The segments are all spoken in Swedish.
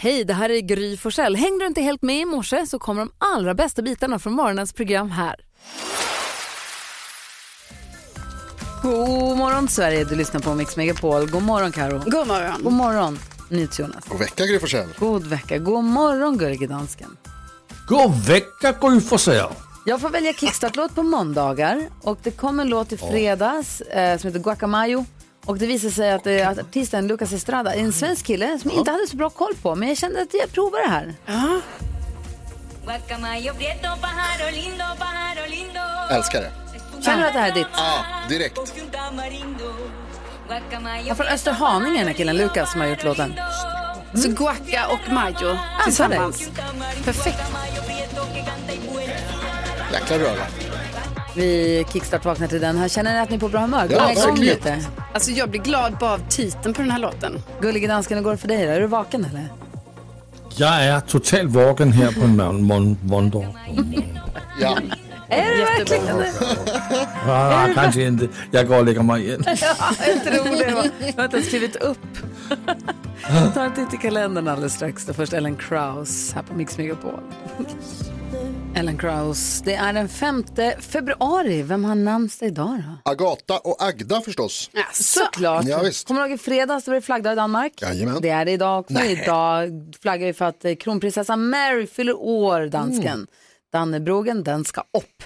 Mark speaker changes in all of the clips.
Speaker 1: Hej, det här är Gry Forssell. Hängde du inte helt med i morse så kommer de allra bästa bitarna från morgonens program här. God morgon Sverige, du lyssnar på Mix Megapol. God morgon Karo.
Speaker 2: God morgon.
Speaker 1: God morgon NyhetsJonas.
Speaker 3: God vecka Gry Forssell.
Speaker 1: God vecka. God morgon Gullige Dansken.
Speaker 4: God vecka Gry Forssell.
Speaker 1: Jag får välja kickstartlåt på måndagar och det kom en låt i fredags eh, som heter Guacamayo. Och det visade sig att, eh, att artisten Lucas Estrada är en svensk kille som jag inte hade så bra koll på men jag kände att jag provar det här.
Speaker 5: Guacamayo prieto, pájaro lindo, pájaro lindo.
Speaker 3: Älskar det.
Speaker 1: Känner du att det här är ditt?
Speaker 3: Ja, direkt.
Speaker 5: Coge un tamarindo. Guacamayo
Speaker 1: Han är från
Speaker 5: prieto,
Speaker 1: Österhaninge den här killen Lucas som har gjort låten.
Speaker 2: Så guacca och majo tillsammans.
Speaker 5: tamarindo,
Speaker 2: Perfekt.
Speaker 5: guacamayo prieto que canta y vuela.
Speaker 3: Jäkla röra.
Speaker 1: Vi kickstart-vaknar till den här. Känner ni att ni är på bra humör?
Speaker 3: Ja,
Speaker 1: Gå igång
Speaker 3: verkligen.
Speaker 1: lite.
Speaker 2: Alltså jag blir glad bara av titeln på den här låten.
Speaker 1: Gullige dansken, hur går det för dig då? Är du vaken eller?
Speaker 4: Jag är totalt vaken här på mån- mån- måndag.
Speaker 3: Ja.
Speaker 1: Är du verkligen det?
Speaker 4: Ah, kanske inte. Jag går och lägger mig igen.
Speaker 1: Jag tror det. va? Jag har inte ens skrivit upp. Ta en titt i kalendern alldeles strax. Det är först Ellen Kraus här på Mix Megapol. Ellen Kraus, det är den 5 februari. Vem har namnsdag idag då?
Speaker 3: Agata och Agda förstås.
Speaker 2: Alltså,
Speaker 1: Såklart.
Speaker 3: Ja, visst.
Speaker 1: Kommer du ihåg i fredags då var det flaggdag i Danmark?
Speaker 3: Jajamän.
Speaker 1: Det är det idag också. Idag flaggar vi för att eh, kronprinsessan Mary fyller år, dansken. Dannebrogen, den ska upp.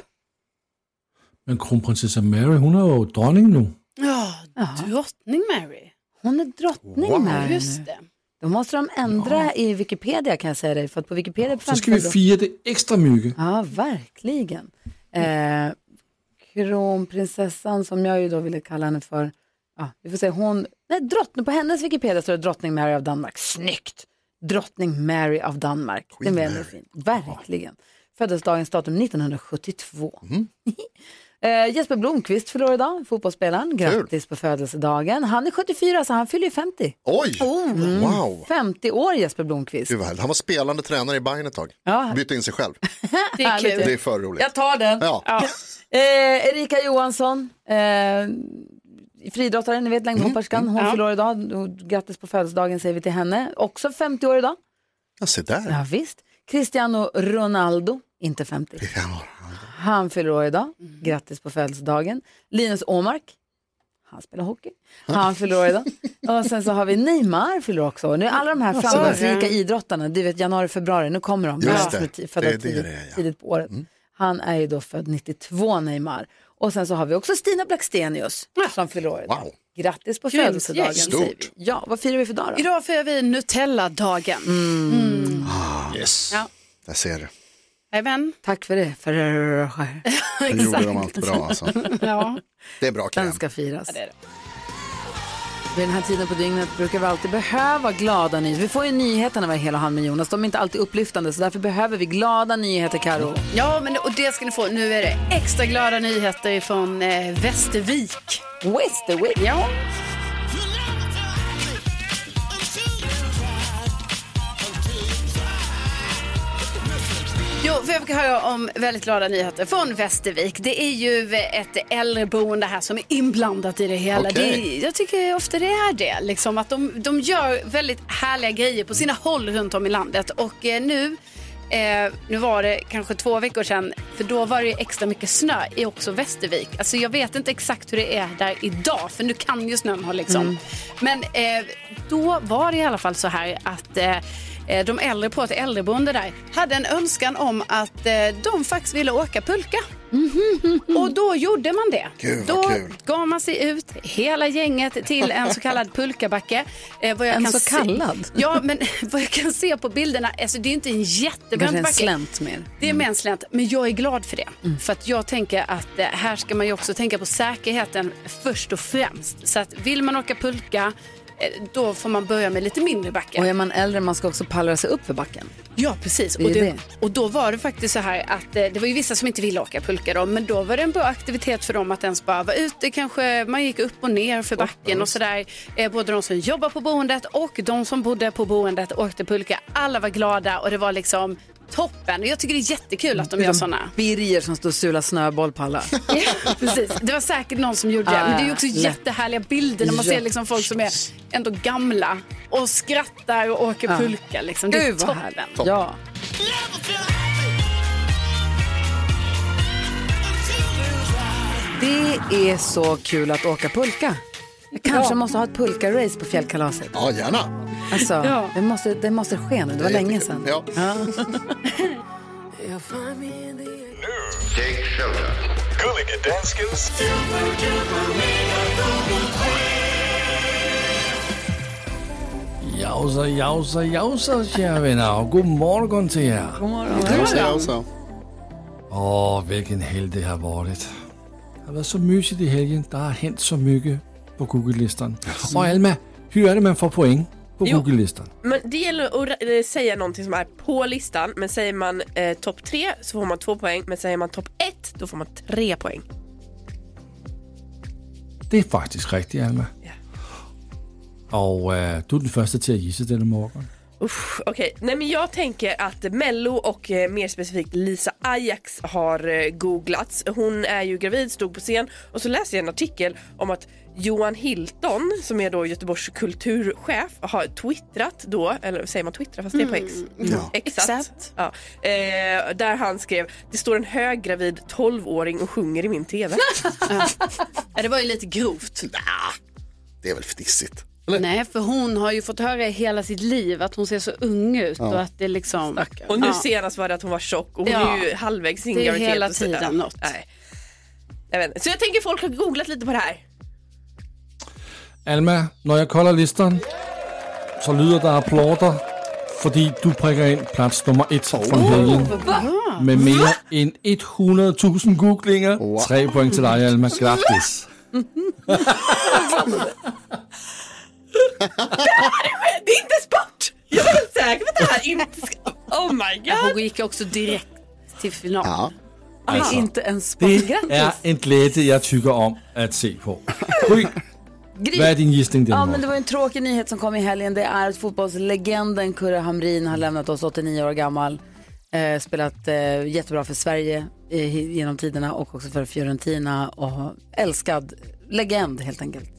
Speaker 4: Men kronprinsessa Mary, hon är ju drottning nu.
Speaker 2: ja, drottning Mary.
Speaker 1: Hon är drottning Mary nu.
Speaker 2: Just det.
Speaker 1: Då måste de ändra i Wikipedia kan jag säga dig. För att på Wikipedia
Speaker 4: Så ska vi
Speaker 1: framför-
Speaker 4: fira det extra mycket.
Speaker 1: Ja, verkligen. Eh, kronprinsessan som jag ju då ville kalla henne för. Ja, vi får se, hon, nej, drottning, på hennes Wikipedia står det drottning Mary av Danmark. Snyggt! Drottning Mary av Danmark. Det är väldigt fint. Verkligen. Födelsedagens datum 1972. eh, Jesper Blomqvist fyller år idag, fotbollsspelaren. Grattis på födelsedagen. Han är 74 så han fyller ju 50.
Speaker 3: Oj! Wow!
Speaker 1: 50 år Jesper Blomqvist.
Speaker 3: Gud vad härligt. Han var spelande tränare i Bayern ett tag.
Speaker 1: Ja.
Speaker 3: Bytte in sig själv.
Speaker 2: Det är kul.
Speaker 3: Det är för roligt.
Speaker 1: Jag tar den.
Speaker 3: Ja.
Speaker 1: Eh, Erika Johansson, eh, friidrottaren, ni vet längdhopperskan, hon fyller år idag. Och Grattis på födelsedagen säger vi till henne. Också 50 år idag.
Speaker 3: Ja, se där.
Speaker 1: Ja, visst. Cristiano Ronaldo, inte 50.
Speaker 3: Ja.
Speaker 1: Han fyller år idag. Grattis på födelsedagen. Linus Åmark, han spelar hockey. Han fyller år idag. Och sen så har vi Neymar fyller också år. Nu är alla de här framgångsrika idrottarna, du vet januari, februari, nu kommer de.
Speaker 3: Just
Speaker 1: De
Speaker 3: det.
Speaker 1: som är ti- födda
Speaker 3: Det är det
Speaker 1: tidigt,
Speaker 3: det är, ja.
Speaker 1: tidigt på året. Han är ju då född 92, Neymar. Och sen så har vi också Stina Blackstenius som fyller år idag.
Speaker 3: Wow.
Speaker 1: Grattis på
Speaker 2: Grymt
Speaker 1: födelsedagen
Speaker 2: gäng.
Speaker 1: säger vi.
Speaker 3: Stort.
Speaker 1: Ja, vad firar vi för dag då?
Speaker 2: Idag firar vi Nutella-dagen.
Speaker 4: Yes.
Speaker 2: Ja.
Speaker 3: Jag ser det.
Speaker 2: Jajamän.
Speaker 1: Tack för det. För...
Speaker 3: Nu gjorde de allt bra alltså.
Speaker 2: Ja.
Speaker 3: Det är bra
Speaker 1: Den
Speaker 3: kräm.
Speaker 1: ska firas.
Speaker 2: det är det.
Speaker 1: Vid den här tiden på dygnet brukar vi alltid behöva glada nyheter. Vi får ju nyheterna varje hel och hand med Jonas. De är inte alltid upplyftande så därför behöver vi glada nyheter Karo.
Speaker 2: ja, men det, och det ska ni få. Nu är det extra glada nyheter från eh, Västervik.
Speaker 1: Westerwick.
Speaker 2: Ja. Jo, för jag fick höra om väldigt glada nyheter från Västervik. Det är ju ett äldreboende här som är inblandat i det hela.
Speaker 3: Okej.
Speaker 2: Det är, jag tycker ofta det är det, liksom, att de, de gör väldigt härliga grejer på sina håll runt om i landet. Och eh, nu, eh, nu var det kanske två veckor sedan, för då var det ju extra mycket snö i också Västervik. Alltså jag vet inte exakt hur det är där idag, för nu kan ju snön ha liksom. Men eh, då var det i alla fall så här att eh, Eh, de äldre på ett äldreboende där hade en önskan om att eh, de faktiskt ville åka pulka. Och då gjorde man det.
Speaker 3: Gud, vad
Speaker 2: då
Speaker 3: kul.
Speaker 2: gav man sig ut, hela gänget, till en så kallad pulkabacke. Eh, vad jag
Speaker 1: En
Speaker 2: kan
Speaker 1: så
Speaker 2: se-
Speaker 1: kallad?
Speaker 2: Ja, men vad jag kan se på bilderna, alltså det är inte en
Speaker 1: Kanske
Speaker 2: jättebrant
Speaker 1: en
Speaker 2: backe.
Speaker 1: slänt mer. Mm.
Speaker 2: Det är mänskligt, men jag är glad för det. För att jag tänker att eh, här ska man ju också tänka på säkerheten först och främst. Så att vill man åka pulka, eh, då får man börja med lite mindre backe.
Speaker 1: Och är man äldre man ska också pallra sig upp för backen.
Speaker 2: Ja, precis.
Speaker 1: är
Speaker 2: Och, det,
Speaker 1: det.
Speaker 2: och då var det faktiskt så här att eh, det var ju vissa som inte ville åka pulka då, men då var det en bra aktivitet för dem att ens bara vara ute kanske. Man gick upp och ner för backen och sådär. Eh, Både de som jobbar på boendet och de som bodde på boendet åkte pulka. Alla var glada och det var liksom toppen. Jag tycker det är jättekul att de gör
Speaker 1: Utom
Speaker 2: sådana.
Speaker 1: Birger som står och sular snöboll på alla.
Speaker 2: Ja, precis. Det var säkert någon som gjorde det.
Speaker 1: Ah,
Speaker 2: Men det är ju också
Speaker 1: lätt.
Speaker 2: jättehärliga bilder när man
Speaker 1: Ja.
Speaker 2: ser liksom folk som är ändå gamla och skrattar och åker pulka. Liksom. Det är
Speaker 1: Gud vad
Speaker 2: toppen.
Speaker 1: härligt. Ja. Det är så kul att åka pulka. Jag kanske måste ha ett pulka-race på fjällkalaset.
Speaker 3: Ja, gärna.
Speaker 1: Alltså,
Speaker 2: Ja.
Speaker 1: det, måste, det måste ske nu, det var
Speaker 3: är
Speaker 1: länge
Speaker 3: jättekul.
Speaker 1: sedan.
Speaker 3: Ja.
Speaker 6: Take shelter.
Speaker 7: Gulliga Danskens
Speaker 4: Jausa, jausa, jausa, kära vänner. Och god morgon till er.
Speaker 3: Jag säger också.
Speaker 4: Åh, vilken helg det har varit. Det har varit så mysigt i helgen. Det har hänt så mycket på Google-listan. Och Alma, hur är det man får poäng på
Speaker 8: Jo.
Speaker 4: Google-listan?
Speaker 8: Men det gäller att ra- eh, säga någonting som är på listan, men säger man eh, topp tre så får man två poäng, men säger man topp ett då får man tre poäng.
Speaker 4: Det är faktiskt rigtigt, Alma. Och eh, du är den första till att gissa denna morgon.
Speaker 8: Usch, okej. Nej men jag tänker att Mello och eh, mer specifikt Lisa Ajax har eh, googlats. Hon är ju gravid, stod på scen och så läste jag en artikel om att Johan Hilton som är då Göteborgs kulturchef har twittrat då, eller säger man twittra fast det är på X?
Speaker 3: Ja.
Speaker 8: Exakt. Ja. Eh, där han skrev, det står en höggravid 12-åring och sjunger i min TV.
Speaker 2: Ja, det var ju lite grovt.
Speaker 3: Det är väl fnissigt? Eller?
Speaker 2: Nej, för hon har ju fått höra i hela sitt liv att hon ser så ung ut och att det liksom...
Speaker 8: Och nu
Speaker 2: Ja.
Speaker 8: senast var det att hon var tjock och hon
Speaker 2: Ja.
Speaker 8: är ju halvvägs in
Speaker 2: Det är
Speaker 8: graviditet
Speaker 2: hela
Speaker 8: och så- ja.
Speaker 2: tiden något.
Speaker 8: Nej. Jag vet inte. Så jag tänker folk har googlat lite på det här.
Speaker 4: Alma, når jeg kolder listeren, så lyder der applauder, fordi du prikker ind plads nummer et
Speaker 1: Oh,
Speaker 4: fra helgen med mere end 100.000 googlinger. Tre point til dig, Alma. Gratis.
Speaker 8: Det är inte sport! Jag var helt säker på att det här inte ska... Oh my god!
Speaker 2: Hon gick ju också direkt till final.
Speaker 3: Ja.
Speaker 1: Det är inte en sport.
Speaker 4: Det er en glæde, jeg tykker om at se på. Gry, hvad er din gisting den
Speaker 1: Ja,
Speaker 4: morgen?
Speaker 1: men det var en tråkig nyhet som kom i helgen. Det är att fotbollslegenden Kurre Hamrin har lämnat oss 89 år gammal. Eh, spelat eh, jättebra för Sverige eh, genom tiderna och också för Fiorentina och älskad legend helt enkelt.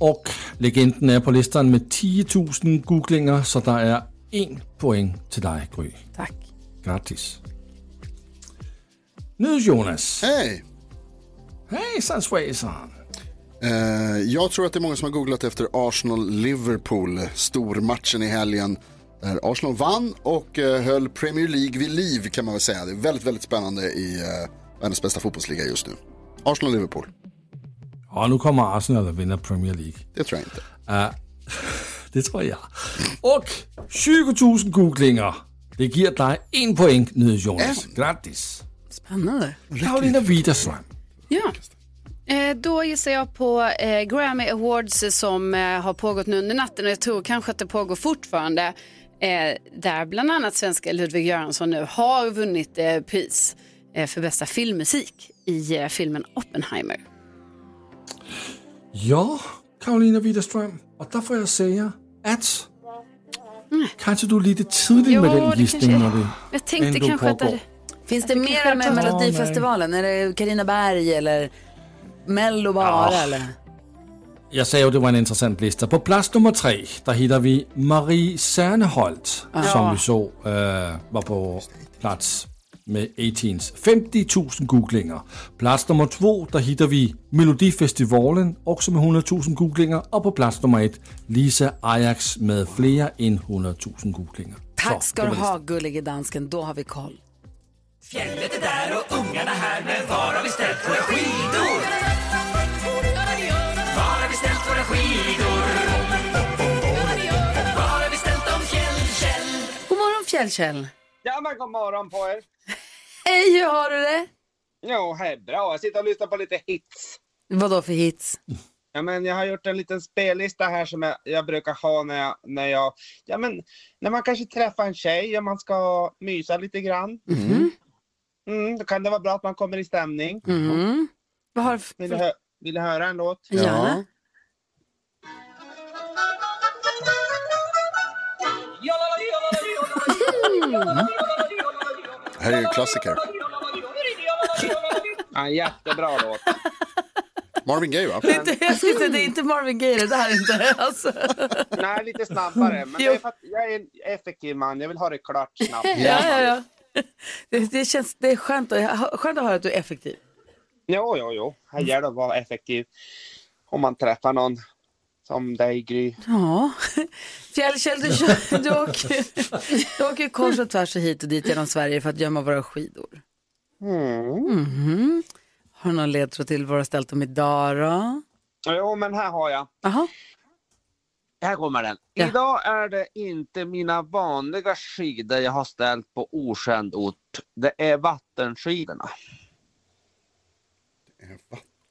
Speaker 4: Og legenden er på listeren med 10.000 googlinger, så der er en point til dig, Gry.
Speaker 1: Tack.
Speaker 4: Gratis. Nydes Jonas.
Speaker 3: Hej!
Speaker 4: Hejsan svejsan.
Speaker 3: Eh, jag tror att det är många som har googlat efter Arsenal-Liverpool, stormatchen i helgen. Där Arsenal vann och eh, höll Premier League vid liv kan man väl säga. Det är väldigt, väldigt spännande i eh, världens bästa fotbollsliga just nu. Arsenal-Liverpool,
Speaker 4: Og nu kommer Arsenal og vinder Premier League.
Speaker 3: det tror jag inte.
Speaker 4: Det tror jeg. Og 20.000 googlinger. Det giver dig en point, nyde Jonas. Gratis.
Speaker 1: Spännande.
Speaker 4: Karolina Widerstrøm.
Speaker 2: Ja. Eh, Då gissar jag på eh, Grammy Awards eh, som eh, har pågått nu under natten och jag tror kanske att det pågår fortfarande. Eh, där bland annat svenska Ludvig Göransson nu har vunnit eh, pris eh, för bästa filmmusik i eh, filmen Oppenheimer.
Speaker 4: Ja, Karolina Widerstrøm. Og der får jeg sige, at... Kanskje du er lidt tidlig
Speaker 2: Mm. Jo,
Speaker 4: med
Speaker 2: det
Speaker 4: den
Speaker 2: kanskje
Speaker 4: gisting,
Speaker 2: er.
Speaker 4: når det
Speaker 2: Jag tänkte
Speaker 4: ändå
Speaker 2: kanske att det
Speaker 4: pågår.
Speaker 2: hade...
Speaker 1: Finns det
Speaker 2: kanske
Speaker 1: mer med
Speaker 2: jag tar-
Speaker 1: Melodifestivalen? Är det Carina Berg eller Mello bara? Eller?
Speaker 4: Jeg sagde jo, det var en interessant liste. På plads nummer tre, der hitter vi Marie Serneholt, som vi så øh, var på plads med 18's. 50.000 googlinger. Plads nummer to, der hitter vi Melodifestivalen, også med 100.000 googlinger. Og på plads nummer et, Lisa Ajax med flere end 100.000 googlinger.
Speaker 1: Tack
Speaker 4: Så,
Speaker 1: ska
Speaker 4: det
Speaker 1: du
Speaker 4: var
Speaker 1: ha gullige dansken, då har vi koll. God morgon Fjällkäll.
Speaker 9: Ja men god morgon på er!
Speaker 1: Hej, hur har du det?
Speaker 9: Jo, hej, bra. Jag sitter och lyssnar på lite hits.
Speaker 1: Vad då för hits?
Speaker 9: Ja, men jag har gjort en liten spellista här som jag, jag brukar ha när jag, när jag... Ja, men när man kanske träffar en tjej och man ska mysa lite grann.
Speaker 1: Mm-hmm.
Speaker 9: Mm, då kan det vara bra att man kommer i stämning.
Speaker 1: Mm. Vad har du för...
Speaker 9: Vill, du hö- vill du höra en låt?
Speaker 1: Gärna.
Speaker 3: Det här är ju en klassiker.
Speaker 9: Ja, en jättebra låt.
Speaker 3: Marvin Gaye va?
Speaker 1: Inte- Jag skulle säga, det är inte Marvin Gaye det där inte. Alltså.
Speaker 9: Nej, lite snabbare. Men det är för att jag är en effektiv man. Jag vill ha det klart snabbt.
Speaker 1: Ja, ja, ja. Det, det, känns, det är skönt att, skönt att höra att du är effektiv.
Speaker 9: Jo, jo, jo. Här gäller det att vara effektiv. Om man träffar någon som dig, Gry.
Speaker 1: Ja, Fjällkäll, du, kör, du åker, du åker kors och tvärs och hit och dit genom Sverige för att gömma våra skidor.
Speaker 9: Mm.
Speaker 1: Mhm. Har du någon ledtråd till vad du har ställt om idag då?
Speaker 9: Jo, men här har jag.
Speaker 1: Aha.
Speaker 9: Här kommer den.
Speaker 1: Ja.
Speaker 9: Idag är det inte mina vanliga skidor jag har ställt på okänd ort. Det är vattenskidorna.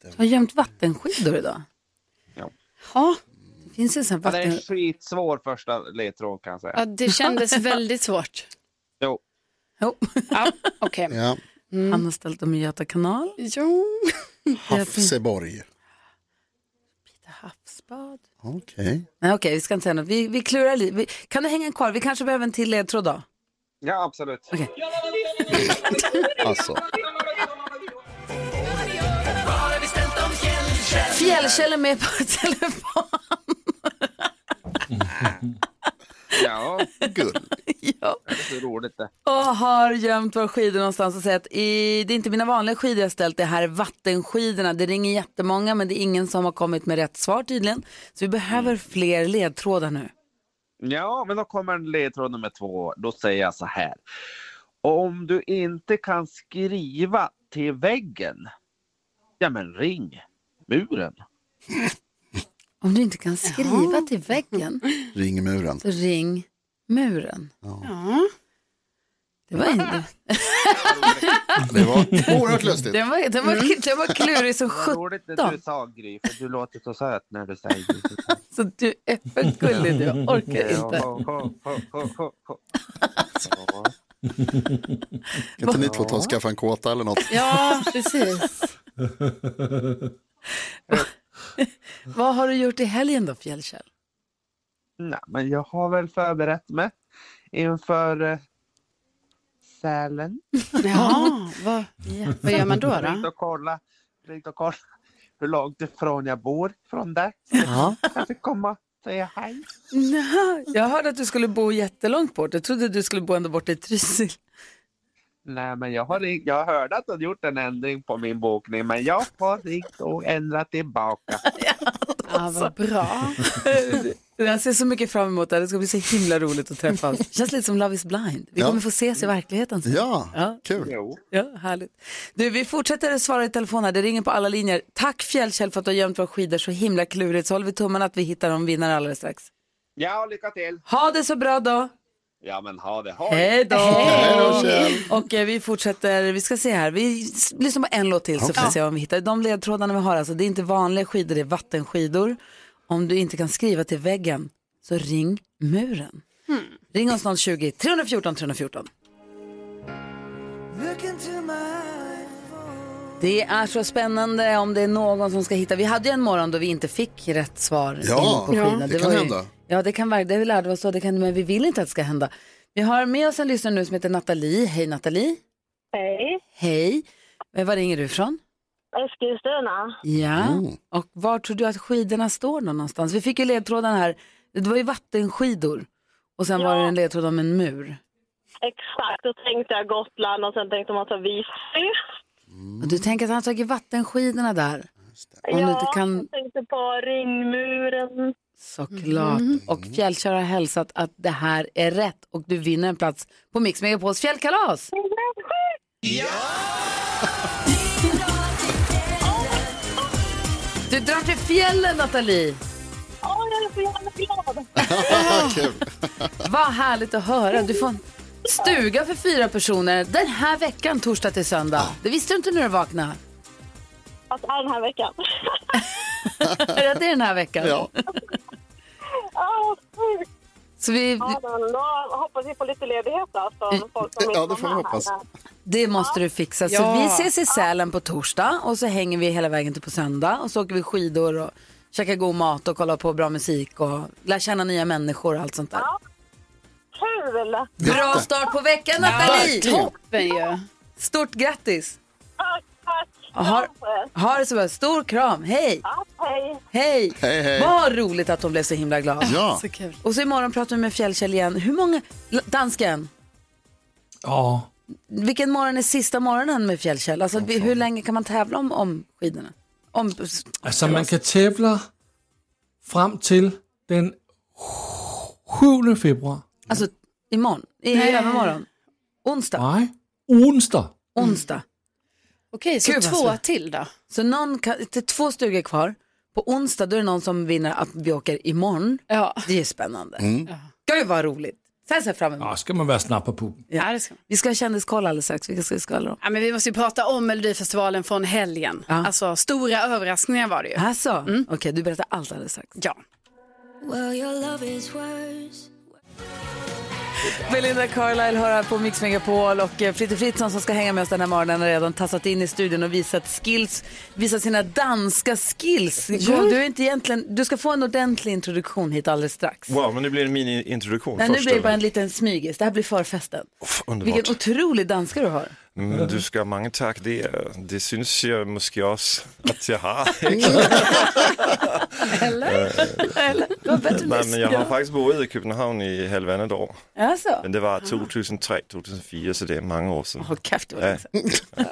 Speaker 1: Du har gömt vattenskidor idag?
Speaker 9: Ja.
Speaker 1: Ja, det finns ju en sån här
Speaker 9: Ja, Det är
Speaker 1: vatten...
Speaker 9: en skitsvår första ledtråd kan jag säga.
Speaker 2: Ja, det kändes väldigt svårt.
Speaker 9: Jo.
Speaker 1: Jo,
Speaker 2: Ja, okej.
Speaker 3: Ja.
Speaker 9: Mm.
Speaker 1: han har ställt om i Göta kanal.
Speaker 2: Jo.
Speaker 3: Hafseborg.
Speaker 1: Havsbad.
Speaker 3: Okej.
Speaker 1: Nej, okej, vi ska inte säga något. Vi, vi klurar lite. Vi- Kan du hänga en kvar? Vi kanske behöver en till ledtråd då?
Speaker 9: Ja, absolut.
Speaker 3: Alltså.
Speaker 1: Fjällkäll är med på telefon.
Speaker 9: Ja,
Speaker 3: Gull.
Speaker 1: Ja.
Speaker 9: det är så roligt det.
Speaker 1: och har gömt våra skidor någonstans och säger att i, det är inte mina vanliga skidor jag ställt, det här är vattenskidorna. Det ringer jättemånga men det är ingen som har kommit med rätt svar tydligen. Så vi behöver
Speaker 2: Mm.
Speaker 1: fler ledtrådar nu.
Speaker 9: Ja, men då kommer en ledtråd nummer två. Då säger jag så här. Om du inte kan skriva till väggen, ja men ring muren.
Speaker 1: Om du inte kan skriva till väggen,
Speaker 3: Ring muren.
Speaker 1: så ring muren.
Speaker 2: Ja.
Speaker 1: Det var, inte,
Speaker 3: Det var oerhört lustigt.
Speaker 1: det var, det var,
Speaker 2: Mm.
Speaker 1: det var klurig som
Speaker 9: Vad roligt det du
Speaker 1: sjutton.
Speaker 9: sa Gry, för du låter så söt när du säger
Speaker 1: Så du är för gullig, du Jag orkar
Speaker 9: det.
Speaker 1: inte.
Speaker 9: Ho, ho, ho, ho, ho, ho.
Speaker 3: Kan inte ni två ta och skaffa en kåta eller något?
Speaker 2: ja, precis.
Speaker 1: Vad har du gjort i helgen då, Fjällkäll?
Speaker 9: Nej, men jag har väl förberett mig inför eh, Sälen.
Speaker 2: Jaha, vad,
Speaker 1: Mm.
Speaker 2: vad gör man då?
Speaker 9: Jag ringde
Speaker 2: då?
Speaker 9: och kolla, ringde och kolla hur långt ifrån jag bor från där.
Speaker 1: Ja.
Speaker 9: Jag fick komma och säga hej.
Speaker 1: Nå, Jag hörde att du skulle bo jättelångt bort. Jag trodde du skulle bo ända bort i Trysil.
Speaker 9: Nej, men jag har ringt. Jag hörde att du hade gjort en ändring på min bokning, men jag har ringt och ändrat tillbaka.
Speaker 2: Ja, vad bra.
Speaker 1: Jag ser så mycket fram emot det här. Det ska bli så himla roligt att träffas. Det känns lite som Love is blind. Vi
Speaker 3: Ja.
Speaker 1: kommer få ses i verkligheten sen.
Speaker 3: Ja,
Speaker 1: Ja.
Speaker 3: kul.
Speaker 9: Jo.
Speaker 1: Ja, härligt. Du, vi fortsätter att svara i telefon här. Det ringer på alla linjer. Tack Fjällkäll för att du har gömt våra skidor så himla klurigt. Så håller vi tummarna att vi hittar någon vinnare alldeles strax.
Speaker 9: Ja, lycka till.
Speaker 1: Ha det så bra då.
Speaker 9: Ja, men ha det. Ha det.
Speaker 1: Hej då.
Speaker 3: Hej då, Kjell.
Speaker 1: Och eh, vi fortsätter, vi ska se här, vi s- lyssnar på en låt till så får vi se om vi hittar. De ledtrådarna vi har alltså, det är inte vanliga skidor, det är vattenskidor. Om du inte kan skriva till väggen, så ring muren. Ring oss 020-314 314. Det är så spännande om det är någon som ska hitta. Vi hade ju en morgon då vi inte fick rätt svar
Speaker 3: Ja,
Speaker 1: in på skidorna.
Speaker 3: det kan
Speaker 1: var ju,
Speaker 3: hända.
Speaker 1: Ja, det kan verkligen. Det lärde vi oss så. Det kan, men vi vill inte att det ska hända. Vi har med oss en lyssnare nu som heter Nathalie. Hej Nathalie.
Speaker 10: Hej,
Speaker 1: Hej. Eh, Var ringer du ifrån?
Speaker 10: Eskilstuna.
Speaker 1: Ja. Och var tror du att skidorna står då någonstans? Vi fick ju ledtråden här. Det var ju vattenskidor. Och sen var det en ledtråd om en mur.
Speaker 10: Exakt, då tänkte jag Gotland och sen tänkte man ta Visby.
Speaker 1: Och du tänker att han har tagit vattenskidorna där. Om du inte
Speaker 10: ja,
Speaker 1: kan-
Speaker 10: jag tänkte på ringmuren.
Speaker 1: Såklart. Och Fjällkör har hälsat att det här är rätt och du vinner en plats på Mix Megapols fjällkalas. Du drar till fjällen, Nathalie.
Speaker 10: Åh, jag är så jävla glad!
Speaker 3: kul.
Speaker 1: Vad härligt att höra. Du får en stuga för fyra personer den här veckan, torsdag till söndag. Det visste du inte när du vaknade.
Speaker 10: Att det är den här veckan.
Speaker 1: Är det att det är den här veckan?
Speaker 3: Ja.
Speaker 10: Ja, sjukt.
Speaker 1: Så vi,
Speaker 10: ja, men då hoppas vi på lite ledighet då, från folk som inte
Speaker 3: Ja, det får
Speaker 10: var
Speaker 3: vi
Speaker 10: med
Speaker 3: hoppas.
Speaker 10: här.
Speaker 1: det måste du fixa. Så
Speaker 11: Ja.
Speaker 1: vi ses i Sälen på torsdag och så hänger vi hela vägen till på söndag och så åker vi skidor och käkar god mat och kollar på bra musik och lär känna nya människor och allt sånt där.
Speaker 10: Kul! själv eller?
Speaker 12: Bra start på veckan Nathalie!
Speaker 3: Verkligen.
Speaker 2: Toppen ju.
Speaker 12: Stort grattis!
Speaker 10: Tack, tack.
Speaker 1: Har,
Speaker 10: Kram på er.
Speaker 1: har det så bra. Stor kram. Hej!
Speaker 10: Ja, hej.
Speaker 1: Hej!
Speaker 3: Hej, hej.
Speaker 1: Vad roligt att hon blev så himla glad.
Speaker 3: Ja,
Speaker 2: Så kul.
Speaker 1: Och så imorgon pratar vi med Fjällkäll igen. Hur många... L- Dansken,
Speaker 4: Ja,
Speaker 1: vilken morgon är sista morgonen med Fjällkäll? Alltså, vi- hur länge kan man tävla om, om skidorna? Om...
Speaker 4: altså man kan tævle frem til den 7. februar.
Speaker 1: Alltså, imorgon? I
Speaker 2: Nej.
Speaker 1: övermorgon? Onsdag?
Speaker 4: Nej, onsdag.
Speaker 1: Onsdag?
Speaker 2: Okej, så
Speaker 1: Gud, vad
Speaker 2: två
Speaker 1: svårt.
Speaker 2: till då.
Speaker 1: Så någon kan, det är två stugor kvar. På onsdag då är det någon som vinner att vi åker imorgon.
Speaker 2: Ja.
Speaker 1: Det är spännande. Gud vad roligt. Så här ser jag fram emot.
Speaker 4: Ja, skal man være snart på puben.
Speaker 2: Ja, det ska man.
Speaker 1: Vi ska ha kändiskoll alldeles strax. Vilka ska vi skvallra om?
Speaker 2: ja, men vi måste ju prata om Melodifestivalen från helgen.
Speaker 1: Ja.
Speaker 2: Alltså, stora överraskningar var det ju.
Speaker 1: Alltså,
Speaker 2: Mm.
Speaker 1: okej du berättar allt alldeles strax.
Speaker 2: Ja.
Speaker 5: Well, your love is worse.
Speaker 1: Belinda Carlisle hör här på Mix Megapol och eh, Fritte Fritzson som ska hänga med oss den här morgonen har redan tassat in i studion och visat skills, visat sina danska skills. Du, är inte egentligen, du ska få en ordentlig introduktion hit alldeles strax.
Speaker 13: Wow, men nu blir det en mini-introduktion
Speaker 1: Nej, nu
Speaker 13: först.
Speaker 1: blir det
Speaker 13: eller?
Speaker 1: bara en liten smygis, det här blir förfesten.
Speaker 13: Uff, Underbart.
Speaker 1: Vilken otrolig danska du har.
Speaker 13: Men du ska ha mange tak, det, er- det synes jeg måske også, at jeg har.
Speaker 1: Du har bättre
Speaker 13: Nej, men jeg har
Speaker 1: musik.
Speaker 13: faktisk boet i København i halvandet år.
Speaker 1: Alltså.
Speaker 13: Men det var 2003-2004, så det er mange år siden.
Speaker 1: Håll käft, det var
Speaker 13: Nej.
Speaker 1: länge sedan.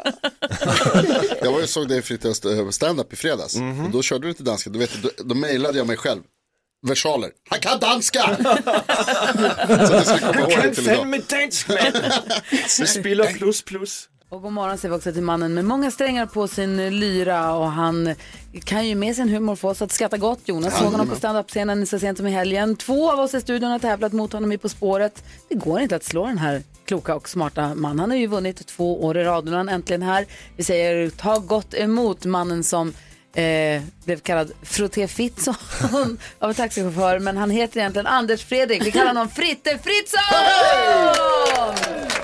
Speaker 3: jag var ju såg dig Fritte st- stand-up i fredags. Och då körde du inte danska, du vet, då, då mejlade jag mig själv. Versaler, han kan danska! Så att jag skulle komma ihåg det till idag.
Speaker 13: med dansk, mand! Vi spiller plus plus.
Speaker 1: Och god morgon säger vi också till mannen med många strängar på sin lyra och han kan ju med sin humor få oss att skratta gott. Jonas såg honom på standup-scenen så sent som i helgen. Två av oss i studion har tävlat mot honom i På spåret. Det går inte att slå den här kloka och smarta mannen. Han har ju vunnit två år i rad och nu är han äntligen här. Vi säger ta gott emot mannen som eh, blev kallad Frotté Fritzson av en taxichaufför. Men han heter egentligen Anders Fredrik. Vi kallar honom Fritte Fritzson!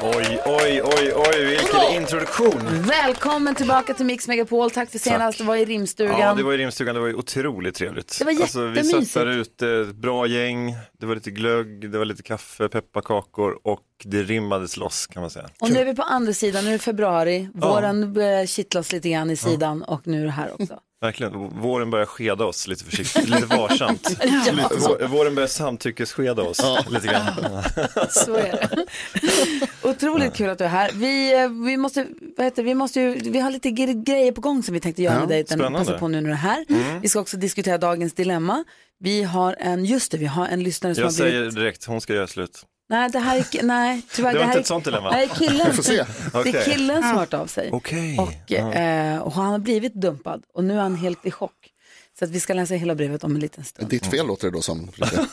Speaker 13: Oj, oj, oj, oj, vilken introduktion!
Speaker 1: Välkommen tillbaka till Mix Megapol. Tack för senast. Det var i rimstugan.
Speaker 13: Ja, det var i rimstugan, det var ju otroligt trevligt.
Speaker 1: Det var
Speaker 13: vi
Speaker 1: jättemysigt.
Speaker 13: satt där ute, ett bra gäng, det var lite glögg, det var lite kaffe, pepparkakor och det rimmades loss kan man säga.
Speaker 1: Och nu är vi på andra sidan. Nu är det februari. Våren börjar kittla oss lite grann i sidan och nu är det här också.
Speaker 13: Verkligen, våren börjar skeda oss lite försiktigt, lite varsamt. lite, vå- våren börjar samtyckesskeda oss lite grann.
Speaker 2: Så är det.
Speaker 1: Otroligt kul att du är här. Vi, eh, vi, måste, vad heter, det? vi, måste ju, vi har lite gre- grejer på gång som vi tänkte göra
Speaker 13: Ja,
Speaker 1: med dig. Den
Speaker 13: spännande. Mm.
Speaker 1: passar på nu när du är här. Vi ska också diskutera dagens dilemma. Vi har en, just det, vi har en lyssnare som
Speaker 13: Jag
Speaker 1: har blivit...
Speaker 13: säger direkt, hon ska göra slut.
Speaker 1: Nej, det här är, nej, tyvärr.
Speaker 13: Det var
Speaker 1: här
Speaker 13: inte
Speaker 1: är-
Speaker 13: ett sånt dilemma.
Speaker 1: Nej, killen,
Speaker 3: får se.
Speaker 13: Mm.
Speaker 1: det är
Speaker 13: Okej.
Speaker 1: killen som har hört av sig.
Speaker 13: Okej.
Speaker 1: Och, eh, och han har blivit dumpad och nu är han helt i chock. Så att vi ska läsa hela brevet om en liten stund.
Speaker 3: Ditt fel låter det då som. Fritte.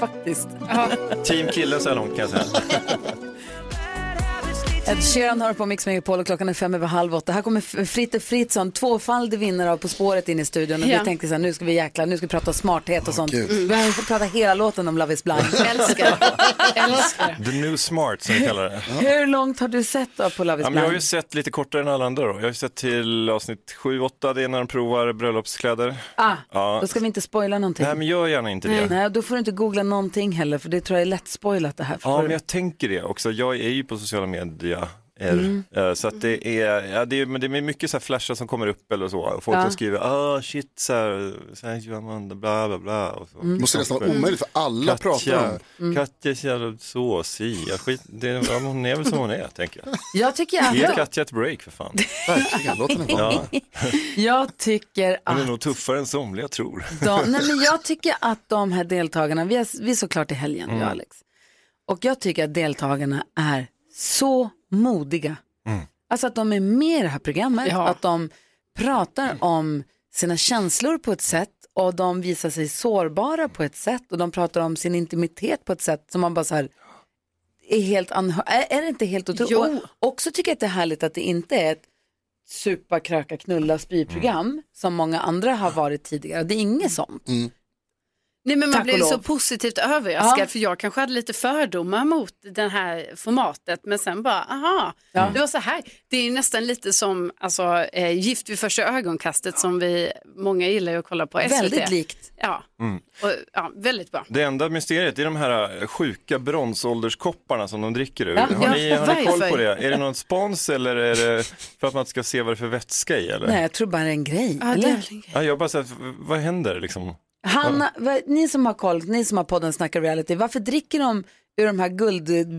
Speaker 1: Faktiskt.
Speaker 13: Team kille så här långt kan jag säga.
Speaker 1: Ed Sheeran hör på Mix Megapol och klockan är fem över halv åtta. Här kommer F- Fritte Fritzson, tvåfaldig vinnare av På spåret in i studion. Och
Speaker 2: Ja.
Speaker 1: vi tänkte så här, nu ska vi jäkla, nu ska vi prata smarthet och sånt.
Speaker 3: Gud.
Speaker 1: Vi har inte pratat hela låten om Love is blind.
Speaker 2: Älskar det. Älskar det.
Speaker 13: The new smart som vi kallar det.
Speaker 1: Hur långt har du sett då på Love is
Speaker 13: Ja, men jag har
Speaker 1: blind?
Speaker 13: ju sett lite kortare än alla andra då. Jag har ju sett till avsnitt 7, 8, det är när de provar bröllopskläder.
Speaker 1: Ah,
Speaker 13: Ja.
Speaker 1: Då ska vi inte spoila någonting.
Speaker 13: Nej men gör gärna inte det.
Speaker 1: Nej, då får du inte googla någonting heller för det tror jag är lätt spoilat det här.
Speaker 13: Ja,
Speaker 1: Förstår
Speaker 13: men
Speaker 1: du?
Speaker 13: jag tänker det också. Jag är ju på sociala medier. Er,
Speaker 8: Mm.
Speaker 13: Eh, Så att det är, ja, det är, men det är mycket så här flashar som kommer upp eller så. Och Folk
Speaker 1: Ja.
Speaker 13: som skriver, ah shit, så här, så här gör man, det, bla bla bla. Och så.
Speaker 3: Måste nästan vara omöjligt för alla pratar om
Speaker 13: Mm. Katja,
Speaker 3: det.
Speaker 1: Mm.
Speaker 13: Katja är så jävla såsig. Ja, skit- det- ja, men Hon är väl som hon är, tänker jag.
Speaker 1: Jag tycker att...
Speaker 13: Ge Katja ett break för fan.
Speaker 3: Verkligen, låt henne vara.
Speaker 13: Ja,
Speaker 1: Jag tycker
Speaker 13: hon är
Speaker 1: att
Speaker 13: nog tuffare än somliga tror.
Speaker 1: de, nej men jag tycker att de här deltagarna, vi är, vi är såklart i helgen,
Speaker 13: Mm.
Speaker 1: jag och Alex. Och jag tycker att deltagarna är så modiga.
Speaker 13: Mm.
Speaker 1: Alltså att de är med i det här programmet,
Speaker 2: Ja.
Speaker 1: att de pratar om sina känslor på ett sätt och de visar sig sårbara på ett sätt och de pratar om sin intimitet på ett sätt som man bara så här är helt anhör- är, är det inte helt otroligt?
Speaker 2: Jo.
Speaker 1: Och också tycker jag att det är härligt att det inte är ett supa,
Speaker 13: Mm.
Speaker 1: kröka, knulla, spy-program som många andra har varit tidigare. Det är inget sånt.
Speaker 2: Nej, men man
Speaker 1: Tack
Speaker 2: blev
Speaker 1: och lov.
Speaker 2: så positivt överraskad
Speaker 1: Ja.
Speaker 2: för jag kanske hade lite fördomar mot det här formatet men sen bara, aha,
Speaker 1: Ja.
Speaker 2: det var så här. Det är ju nästan lite som alltså, eh, Gift vid första ögonkastet som vi, många gillar ju att kolla på SVT.
Speaker 1: Väldigt likt.
Speaker 2: Ja,
Speaker 13: Mm.
Speaker 2: och, ja väldigt bra.
Speaker 13: Det enda mysteriet är de här eh, sjuka bronsålderskopparna som de dricker ur.
Speaker 2: Ja,
Speaker 13: har,
Speaker 2: ja,
Speaker 13: ni, har ni koll
Speaker 2: varför?
Speaker 13: på det? Är det någon spons eller är det för att man ska se vad det är för vätska i? Eller?
Speaker 1: Nej, jag tror bara det är en grej.
Speaker 2: det
Speaker 1: eller?
Speaker 13: Ja, jag bara så här, vad händer liksom?
Speaker 1: Hanna, vad- ni som har koll, ni som har podden Snacka reality, varför dricker de ur de här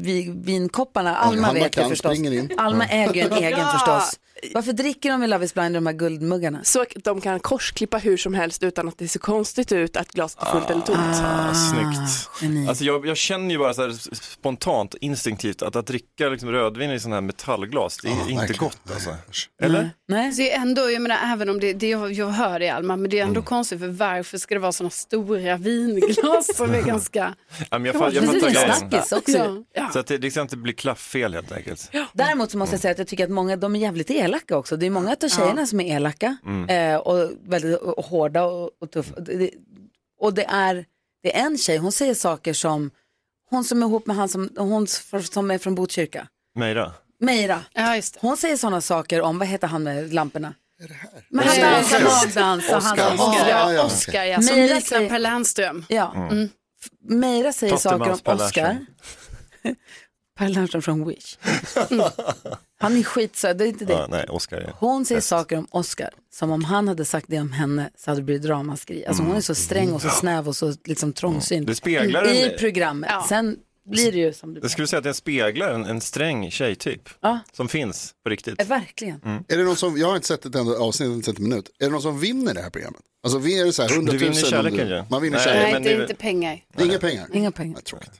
Speaker 1: guldvinkopparna? Alma
Speaker 3: Hanna
Speaker 1: vet det
Speaker 3: kan,
Speaker 1: förstås.
Speaker 3: springer in.
Speaker 1: Alma
Speaker 3: Ja.
Speaker 1: äger ju en egen
Speaker 8: Ja.
Speaker 1: förstås. Varför dricker de i Love is blind ur de här guldmuggarna?
Speaker 8: Så att de kan korsklippa hur som helst utan att det ser konstigt ut att glaset är fullt eller tomt.
Speaker 13: Ah, snyggt. Alltså jag, jag känner ju bara så här s- spontant, instinktivt att att dricka liksom rödvin i sån här metallglas, det är inte gott alltså. Eller?
Speaker 1: Nej.
Speaker 2: Det är ändå, jag menar även om det, det jag, jag hör det Alma, men det är
Speaker 13: Mm.
Speaker 2: ändå konstigt för varför ska det vara sådana stora vinglas som är ganska...
Speaker 13: Ja, men jag,
Speaker 2: Det
Speaker 13: fa- jag fattar
Speaker 2: var lite
Speaker 13: grejen.
Speaker 1: snackis också.
Speaker 13: Så att det, det ska inte bli klafffel helt enkelt.
Speaker 1: Däremot så måste
Speaker 13: Mm.
Speaker 1: jag säga att jag tycker att många, de är jävligt elaka också. Det är många av tjejerna som är elaka
Speaker 13: Mm.
Speaker 1: eh, och väldigt och, och hårda och, och tuffa. Och det- Och det är, det är en tjej, hon säger saker som, hon som är ihop med han som, hon som är från Botkyrka.
Speaker 13: Meira?
Speaker 1: Meira. Hon säger sådana saker om, vad heter han med lamporna? Men
Speaker 2: Vad
Speaker 13: Eh,
Speaker 1: han
Speaker 2: säger
Speaker 1: dansar
Speaker 2: du?
Speaker 1: magdans och han
Speaker 2: Oscar. Oscar, ja,
Speaker 1: Åh,
Speaker 2: ja, Oscar, ja, som
Speaker 1: Meira
Speaker 2: liknar
Speaker 1: säger-
Speaker 2: Per Lernström.
Speaker 1: Ja.
Speaker 2: Mm.
Speaker 1: F- Meira säger saker om
Speaker 2: Tattermans Per
Speaker 1: Oscar.
Speaker 2: Lernström.
Speaker 1: per Lernström från Wish. Mm. Han är skitsöt, det är inte det.
Speaker 13: Ja, nej, Oscar är...
Speaker 1: Hon säger saker om Oscar som om han hade sagt det om henne så hade det blivit ramaskri. Alltså hon är så sträng och så snäv och så liksom trångsynt.
Speaker 13: Mm. Det speglar
Speaker 1: I
Speaker 13: en-
Speaker 1: programmet. Sen blir det ju som det
Speaker 13: Jag skulle säga att den speglar en, en sträng tjejtyp
Speaker 1: Ja.
Speaker 13: som finns på riktigt.
Speaker 1: blir. Verkligen.
Speaker 13: Mm.
Speaker 3: Är det någon som, jag har inte sett ett enda avsnitt, inte sett en minut. Är det någon som vinner det här programmet? Alltså vi är det så här 100 000?
Speaker 13: Du vinner
Speaker 3: om
Speaker 13: kärleken
Speaker 3: du-
Speaker 13: ju.
Speaker 3: Man vinner
Speaker 13: Nej,
Speaker 3: kärleken.
Speaker 2: Nej, det är inte pengar.
Speaker 3: Inga pengar?
Speaker 1: Inga pengar.
Speaker 3: Tråkigt.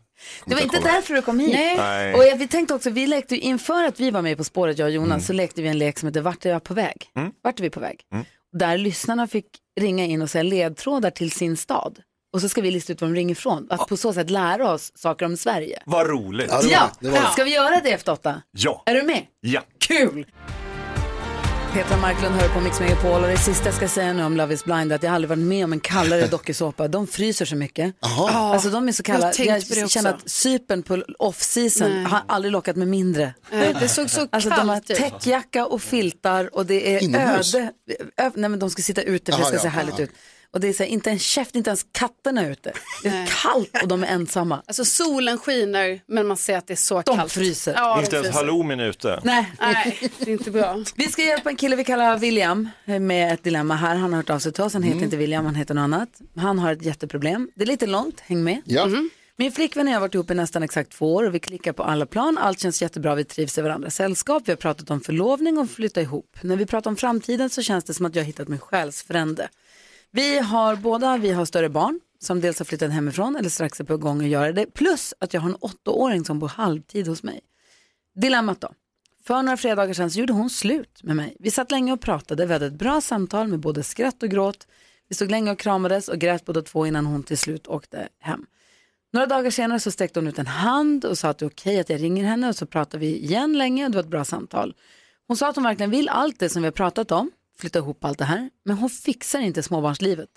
Speaker 1: Det var inte därför du kom hit.
Speaker 3: Nej.
Speaker 1: Och jag, vi tänkte också, vi lekte ju inför att vi var med På spåret, jag och Jonas, så lekte vi en lek som heter Vart är jag på väg? Vart är vi på väg? Där lyssnarna fick ringa in och säga ledtrådar till sin stad. Och så ska vi lista ut var de ringer ifrån. Att på så sätt lära oss saker om Sverige.
Speaker 13: Vad roligt.
Speaker 1: Ja, ska vi göra det efter åtta?
Speaker 13: Ja.
Speaker 1: Är du med?
Speaker 13: Ja.
Speaker 1: Kul! Petra Marklund hör på Mix Megapol och det sista jag ska säga nu om Love is blind är att jag aldrig varit med om en kallare dokusåpa. De fryser så mycket.
Speaker 2: Ja,
Speaker 1: Alltså de är så
Speaker 2: jag
Speaker 1: kalla.
Speaker 2: har tänkt
Speaker 1: Jag,
Speaker 2: på det också.
Speaker 1: känner att sypen på off-season
Speaker 2: Nej.
Speaker 1: har aldrig lockat mig mindre.
Speaker 2: Nej, det såg så
Speaker 1: alltså de har
Speaker 2: kallt typ. ut.
Speaker 1: täckjacka och filtar och det är
Speaker 2: Inomhus?
Speaker 1: öde. Ö, nej men de ska sitta ute
Speaker 2: Jaha,
Speaker 1: för det ska
Speaker 2: ja.
Speaker 1: se härligt
Speaker 2: Ja.
Speaker 1: ut. Och det är så här, inte en käft, inte ens katterna är ute. Det är kallt och de är ensamma.
Speaker 2: Alltså solen skiner men man ser att det är så
Speaker 1: De
Speaker 2: kallt.
Speaker 1: fryser.
Speaker 2: Ja,
Speaker 13: inte
Speaker 2: de
Speaker 13: ens
Speaker 2: fryser.
Speaker 13: halloumin är ute.
Speaker 1: Nej.
Speaker 2: Nej, det är inte bra.
Speaker 1: Vi ska hjälpa en kille vi kallar William med ett dilemma här. Han har hört av sig till oss. Han heter
Speaker 2: Mm.
Speaker 1: inte William, han heter något annat. Han har ett jätteproblem. Det är lite långt, häng med.
Speaker 3: Ja.
Speaker 1: Min flickvän och jag har varit ihop i nästan exakt två år och vi klickar på alla plan. Allt känns jättebra, vi trivs i varandras sällskap. Vi har pratat om förlovning och flytta ihop. När vi pratar om framtiden så känns det som att jag har hittat min själsfrände. Vi har båda, vi har större barn som dels har flyttat hemifrån eller strax är på gång att göra det. Plus att jag har en åttaåring som bor halvtid hos mig. Dilemmat då. För några fredagar sedan så gjorde hon slut med mig. Vi satt länge och pratade, vi hade ett bra samtal med både skratt och gråt. Vi stod länge och kramades och grät båda två innan hon till slut åkte hem. Några dagar senare så sträckte hon ut en hand och sa att det är okej att jag ringer henne och så pratade vi igen länge och det var ett bra samtal. Hon sa att hon verkligen vill allt det som vi har pratat om, flytta ihop allt det här, men hon fixar inte småbarnslivet.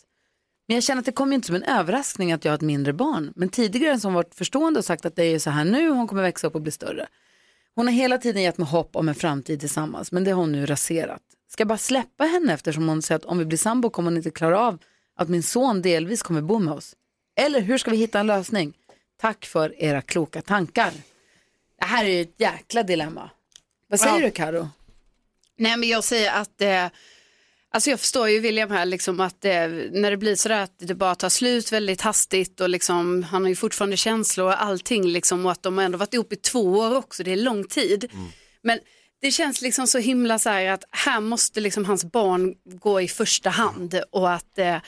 Speaker 1: Men jag känner att det kommer ju inte som en överraskning att jag har ett mindre barn. Men tidigare har hon varit förstående och sagt att det är så här nu, hon kommer växa upp och bli större. Hon har hela tiden gett mig hopp om en framtid tillsammans, men det har hon nu raserat. Ska jag bara släppa henne eftersom hon säger att om vi blir sambo kommer hon inte klara av att min son delvis kommer bo med oss? Eller hur ska vi hitta en lösning? Tack för era kloka tankar. Det här är ju ett jäkla dilemma. Vad säger
Speaker 2: Ja.
Speaker 1: du Karo?
Speaker 2: Nej men jag säger att, eh, alltså jag förstår ju William här liksom att eh, när det blir sådär att det bara tar slut väldigt hastigt och liksom han har ju fortfarande känslor och allting liksom och att de har ändå varit ihop i två år också, det är lång tid. Men det känns liksom så himla så här att här måste liksom hans barn gå i första hand och att eh, eh,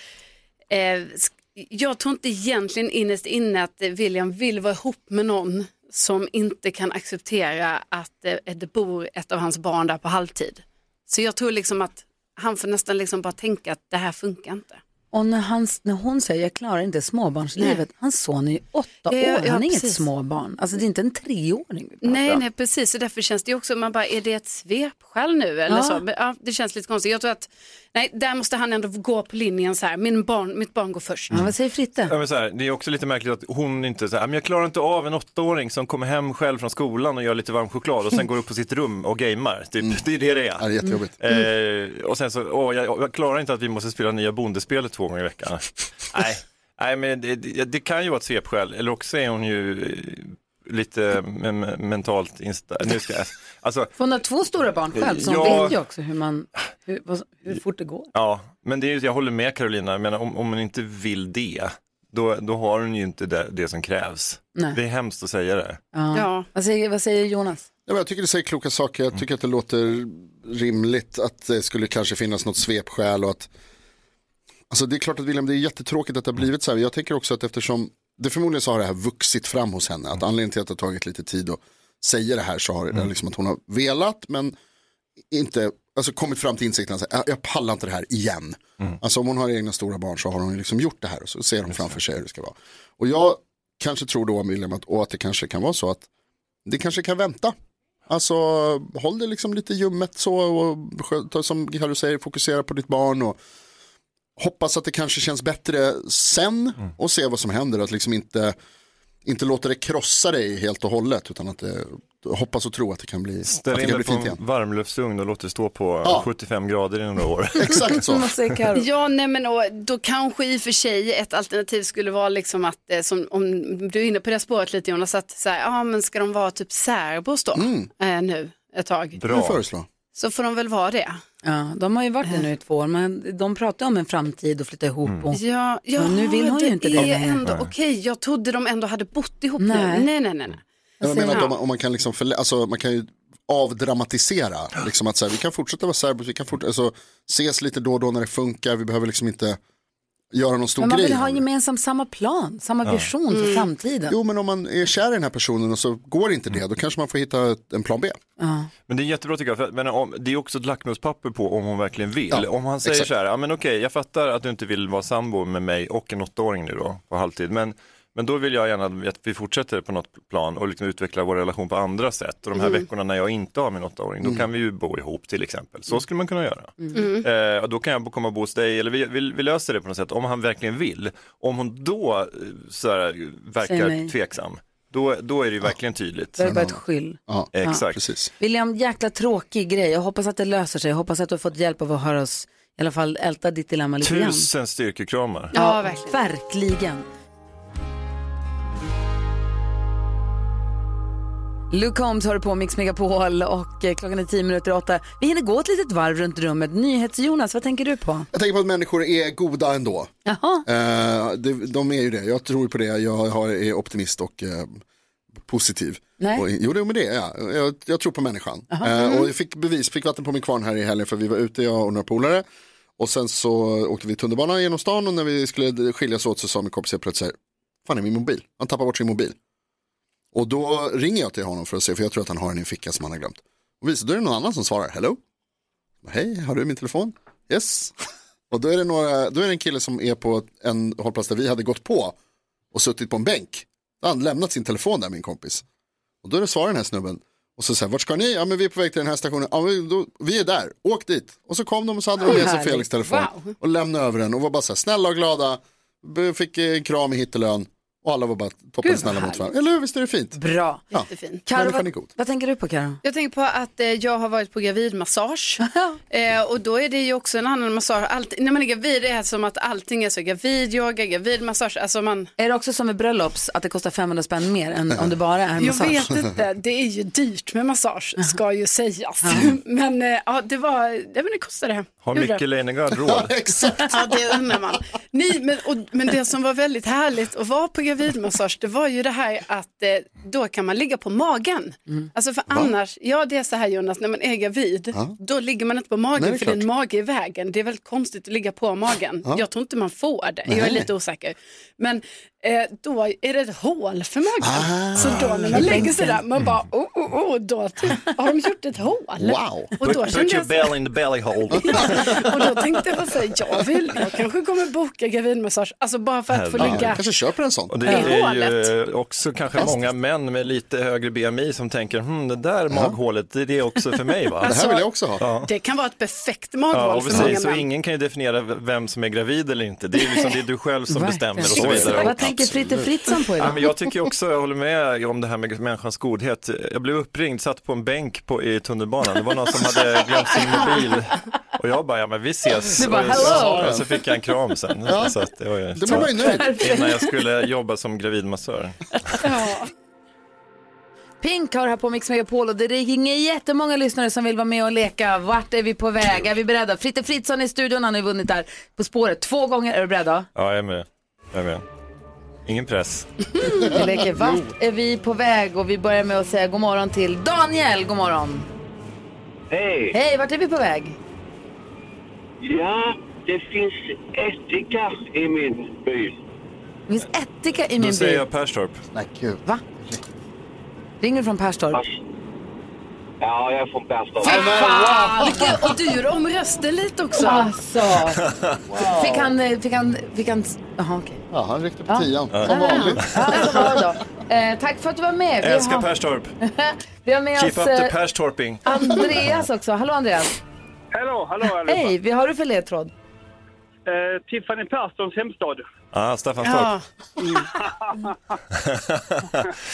Speaker 2: sk- jag tror inte egentligen innerst inne att eh, William vill vara ihop med någon som inte kan acceptera att eh, det bor ett av hans barn där på halvtid. Så jag tror liksom att han får nästan liksom bara tänka att det här funkar inte.
Speaker 1: Och när, han, när hon säger jag klarar inte småbarnslivet, hans son är ju åtta
Speaker 2: Ja, ja,
Speaker 1: år,
Speaker 2: ja,
Speaker 1: han är inget
Speaker 2: precis.
Speaker 1: småbarn. Alltså det är inte en treåring vi pratar
Speaker 2: Nej,
Speaker 1: om.
Speaker 2: nej, precis. Och därför känns det ju också, man bara, är det ett svepskäl nu? Eller
Speaker 1: Ja.
Speaker 2: så? Men, ja, det känns lite konstigt. Jag tror att Nej, där måste han ändå gå på linjen så här, min barn, mitt barn går först.
Speaker 1: Ja, vad säger Fritte?
Speaker 13: Ja, men så här, det är också lite märkligt att hon inte, så här, men jag klarar inte av en åttaåring som kommer hem själv från skolan och gör lite varm choklad och sen går upp på sitt rum och gamer. Typ.
Speaker 1: Mm.
Speaker 13: Det är det det är.
Speaker 3: det är jättejobbigt.
Speaker 13: Eh, och sen så, åh, jag, jag klarar inte att vi måste spela nya bondespelet två gånger i veckan. Nej, Nej men det, det, det kan ju vara ett svepskäl, eller också är hon ju eh, lite me- mentalt insta... Nu ska jag... Alltså,
Speaker 1: För hon har två stora barn själv, så hon
Speaker 13: Ja.
Speaker 1: vet ju också hur, man, hur, vad- hur fort det går.
Speaker 13: Ja, men det är, ju- jag håller med Carolina, men om, om hon inte vill det, då, då har hon ju inte det, det som krävs.
Speaker 1: Nej.
Speaker 13: Det är hemskt att säga det.
Speaker 1: Ja. Vad, säger, vad säger Jonas?
Speaker 3: Ja, men jag tycker du säger kloka saker. Jag tycker att det låter rimligt att det skulle kanske finnas något svepskäl och att Alltså det är klart att William, det är jättetråkigt att det har blivit så här. Jag tänker också att eftersom det förmodligen så har det här vuxit fram hos henne. Att anledningen till att det har tagit lite tid att säga det här så har det liksom att hon har velat men inte, alltså kommit fram till insikten att så här, "Jag- jag pallar inte det här igen. Alltså om hon har egna stora barn så har hon ju liksom gjort det här och så ser hon framför sig hur det ska vara. Och jag kanske tror då William att, och att det kanske kan vara så att det kanske kan vänta. Alltså håll det liksom lite ljummet så och sköta, som du säger, fokusera på ditt barn och hoppas att det kanske känns bättre sen
Speaker 13: Mm.
Speaker 3: och se vad som händer. Att liksom inte, inte låta det krossa dig helt och hållet utan att det, hoppas och tro att det kan bli, att
Speaker 13: Ställ
Speaker 3: det
Speaker 13: in
Speaker 3: kan
Speaker 13: det
Speaker 3: bli
Speaker 13: på
Speaker 3: fint igen.
Speaker 13: en varmluftsugn och låt det stå på
Speaker 3: Ja.
Speaker 13: 75 grader i några år.
Speaker 3: Exakt så.
Speaker 2: Ja, nej men och, då kanske i och för sig ett alternativ skulle vara liksom att, eh, som, om du är inne på det spåret lite Jonas, att så här, ja men ska de vara typ särbos då
Speaker 3: Mm.
Speaker 2: eh, nu ett tag? Så får de väl vara det.
Speaker 1: Ja, de har ju varit det nu i två år, men de pratar om en framtid och flytta ihop. Och,
Speaker 2: Ja, ja
Speaker 1: men nu vill hon
Speaker 2: det
Speaker 1: ju inte det
Speaker 2: är
Speaker 1: längre.
Speaker 2: ändå okej. Jag trodde de ändå hade bott ihop
Speaker 1: Nej.
Speaker 2: nu. Nej, nej, nej. nej.
Speaker 3: Men Jag menar att
Speaker 2: Ja.
Speaker 3: om man, om man kan liksom förlä- alltså man kan ju avdramatisera, liksom att så här, vi kan fortsätta vara serbos, vi kan fortsätta, alltså, ses lite då och då när det funkar, vi behöver liksom inte göra någon stor
Speaker 1: Men man
Speaker 3: grej.
Speaker 1: vill ha gemensam, samma plan, samma
Speaker 3: Ja.
Speaker 1: vision för
Speaker 3: Mm.
Speaker 1: framtiden.
Speaker 3: Jo men om man är kär i den här personen och så går inte det, då kanske man får hitta ett- en plan B.
Speaker 1: Ja.
Speaker 13: Men det är jättebra tycker jag, för att- men om, det är också ett lackmuspapper på om hon verkligen vill.
Speaker 3: Ja,
Speaker 13: om han säger
Speaker 3: exakt.
Speaker 13: så här, ja men okej, jag fattar att du inte vill vara sambo med mig och en åttaåring nu då, på halvtid, men, men då vill jag gärna att vi fortsätter på något plan och liksom utveckla vår relation på andra sätt. Och de här
Speaker 2: Mm.
Speaker 13: veckorna när jag inte har min åttaåring, då kan vi ju bo ihop till exempel. Så skulle man kunna göra.
Speaker 2: Mm.
Speaker 13: Eh, och då kan jag bo- komma och bo hos dig, eller vi, vi, vi löser det på något sätt, om han verkligen vill. Om hon då eh, så här,
Speaker 1: Säger nej.
Speaker 13: verkar tveksam, då, då är det ju verkligen tydligt.
Speaker 1: Då är det bara ett skyll.
Speaker 3: Ja,
Speaker 13: Exakt.
Speaker 3: Precis.
Speaker 1: William, jäkla tråkig grej. Jag hoppas att det löser sig. Jag hoppas att du har fått hjälp av att höra oss, i alla fall älta ditt dilemma lite grann.
Speaker 13: Tusen styrkekramar.
Speaker 1: Ja, verkligen. verkligen. Luke Holmes hör på Mix Megapol och eh, klockan är tio minuter i åtta. Vi hinner gå ett litet varv runt rummet. NyhetsJonas, vad tänker du på?
Speaker 3: Jag tänker på att människor är goda ändå.
Speaker 1: Jaha.
Speaker 3: Eh, det, de är ju det, jag tror på det, jag har, är optimist och eh, positiv.
Speaker 1: Nej.
Speaker 3: Och, jo, det, men det är jag. jag. Jag tror på människan.
Speaker 1: Aha.
Speaker 3: Eh,
Speaker 1: Mm.
Speaker 3: och jag fick bevis, fick vatten på min kvarn här i helgen för vi var ute, jag och några polare. Och sen så åkte vi tunnelbana genom stan och när vi skulle skiljas åt så sa min kompis helt plötsligt, så här, fan är min mobil? Han tappar bort sin mobil. Och då ringer jag till honom för att se, för jag tror att han har den i en ficka som han har glömt. Och visar, då är det någon annan som svarar, hello? Hej, har du min telefon? Yes. Och då är det, några, då är det en kille som är på en hållplats där vi hade gått på och suttit på en bänk. Då har han lämnat sin telefon där, min kompis. Och då är det svarar den här snubben. Och så säger vart ska ni? Ja men vi är på väg till den här stationen. Ja, men då, vi är där, åk dit. Och så kom de och så hade de med sig
Speaker 1: Härligt.
Speaker 3: Felix telefon.
Speaker 1: Wow.
Speaker 3: Och lämnade över den och var bara så här snälla och glada. B- Fick eh, en kram i hittelön. Och alla var bara toppen
Speaker 2: vad
Speaker 3: snälla mot
Speaker 2: härligt.
Speaker 3: varandra. Eller hur, visst är det fint?
Speaker 1: Bra.
Speaker 3: Ja.
Speaker 2: Jättefint.
Speaker 1: Karo,
Speaker 3: Människan är
Speaker 1: vad,
Speaker 3: god.
Speaker 1: vad tänker du på Karo?
Speaker 2: Jag tänker på att eh, jag har varit på gravidmassage eh, och då är det ju också en annan massage. Allt, när man är gravid är det som att allting är så gravidyoga, gravidmassage. Alltså man...
Speaker 1: Är det också som med bröllops, att det kostar 500 spänn mer än om det bara är
Speaker 2: Jag
Speaker 1: massage?
Speaker 2: vet inte, det är ju dyrt med massage ska ju sägas. Men eh, ja, det var, ja, men det kostade.
Speaker 13: Har
Speaker 2: Gjorde det.
Speaker 13: Micke Leijnegard råd?
Speaker 3: Exakt.
Speaker 2: Ja, det undrar man. Nej, men, och, men det som var väldigt härligt att vara på gravidmassage, det var ju det här att eh, då kan man ligga på magen.
Speaker 7: Mm.
Speaker 2: Alltså för annars, ja det är så här Jonas, när man är gravid,
Speaker 7: Ja.
Speaker 2: då ligger man inte på magen
Speaker 7: Nej, det är
Speaker 2: för
Speaker 7: klart.
Speaker 2: din mage är i vägen. Det är väldigt konstigt att ligga på magen.
Speaker 7: Ja.
Speaker 2: Jag tror inte man får det, jag är
Speaker 7: Nej.
Speaker 2: lite osäker. Men eh, då är det ett hål för
Speaker 7: Ah.
Speaker 2: mögeln. så då när man lägger sig där, man bara oh, oh, oh, då typ, har de gjort ett hål. Och
Speaker 13: Put,
Speaker 2: då
Speaker 13: put
Speaker 2: kände
Speaker 13: your
Speaker 2: jag, så-
Speaker 13: bell in the belly hole.
Speaker 2: och då tänkte jag bara så här, jag vill, jag kanske kommer boka gravidmassage, alltså bara för att få ligga.
Speaker 3: köper en sån.
Speaker 13: Och det
Speaker 2: I
Speaker 13: är ju
Speaker 2: hålet.
Speaker 13: eh, också kanske många män med lite högre BMI som tänker, hm, det där maghålet, det är det också för mig va?
Speaker 2: Det här vill jag också
Speaker 13: ha. Ja.
Speaker 2: Det kan vara ett perfekt
Speaker 13: Ja,
Speaker 2: maghål
Speaker 13: och
Speaker 2: för många
Speaker 13: precis, så
Speaker 2: män.
Speaker 13: ingen kan ju definiera v- vem som är gravid eller inte. Det är ju liksom det är du själv som bestämmer och så
Speaker 1: Verkligen.
Speaker 13: vidare.
Speaker 1: Vad tänker Fritte
Speaker 13: Absolut.
Speaker 1: Fritzson på idag?
Speaker 13: Ja, men jag tycker också, jag håller med om det här med människans godhet. Jag blev uppringd, satt på en bänk på, i tunnelbanan. Det var någon som hade glömt sin mobil. Och jag bara, ja men vi ses.
Speaker 3: Du bara,
Speaker 13: Och-
Speaker 3: "Hello."
Speaker 13: Och så fick jag en kram sen.
Speaker 3: Ja.
Speaker 13: Så att det var ju,
Speaker 3: Då blir man ju nöjd.
Speaker 13: Innan jag skulle jobba som gravidmassör.
Speaker 1: Pink har här på Mix Megapol och det ringer jättemånga lyssnare som vill vara med och leka. Vart är vi på väg? Är vi beredda? Fritte Fritzson är i studion, han har ju vunnit där På spåret två gånger. Är du beredda?
Speaker 13: Ja, jag är med. Jag är med. Ingen press.
Speaker 1: Vi leker Vart är vi på väg? Och vi börjar med att säga god morgon till Daniel. God morgon.
Speaker 7: Hej!
Speaker 1: Hej, vart är vi på väg?
Speaker 7: Ja, det finns ättika i min by.
Speaker 1: Det finns ättika i
Speaker 13: Då
Speaker 1: min
Speaker 13: säger
Speaker 1: bil.
Speaker 13: jag Perstorp.
Speaker 3: Nej, gud.
Speaker 1: Va? Ringer du från Perstorp?
Speaker 7: Ja, jag är från Perstorp.
Speaker 2: Fan, vilken- och du gjorde om rösten lite också.
Speaker 1: Alltså. Fick han, eh, fick han, fick han, jaha okej.
Speaker 3: Ja, han ryckte på tian.
Speaker 13: Ja.
Speaker 3: Som vanligt.
Speaker 1: Eh, tack för att du var med. Vi
Speaker 13: Älskar
Speaker 1: har-
Speaker 13: Perstorp.
Speaker 1: Vi har med
Speaker 13: Keep
Speaker 1: oss
Speaker 13: up the
Speaker 1: eh,
Speaker 13: Perstorping.
Speaker 1: Andreas också. Hallå Andreas.
Speaker 7: Hallå, hallå allihopa.
Speaker 1: Hej, vi har du för ledtråd?
Speaker 7: Eh, Tiffany Perssons hemstad.
Speaker 13: Ah, Staffanstorp.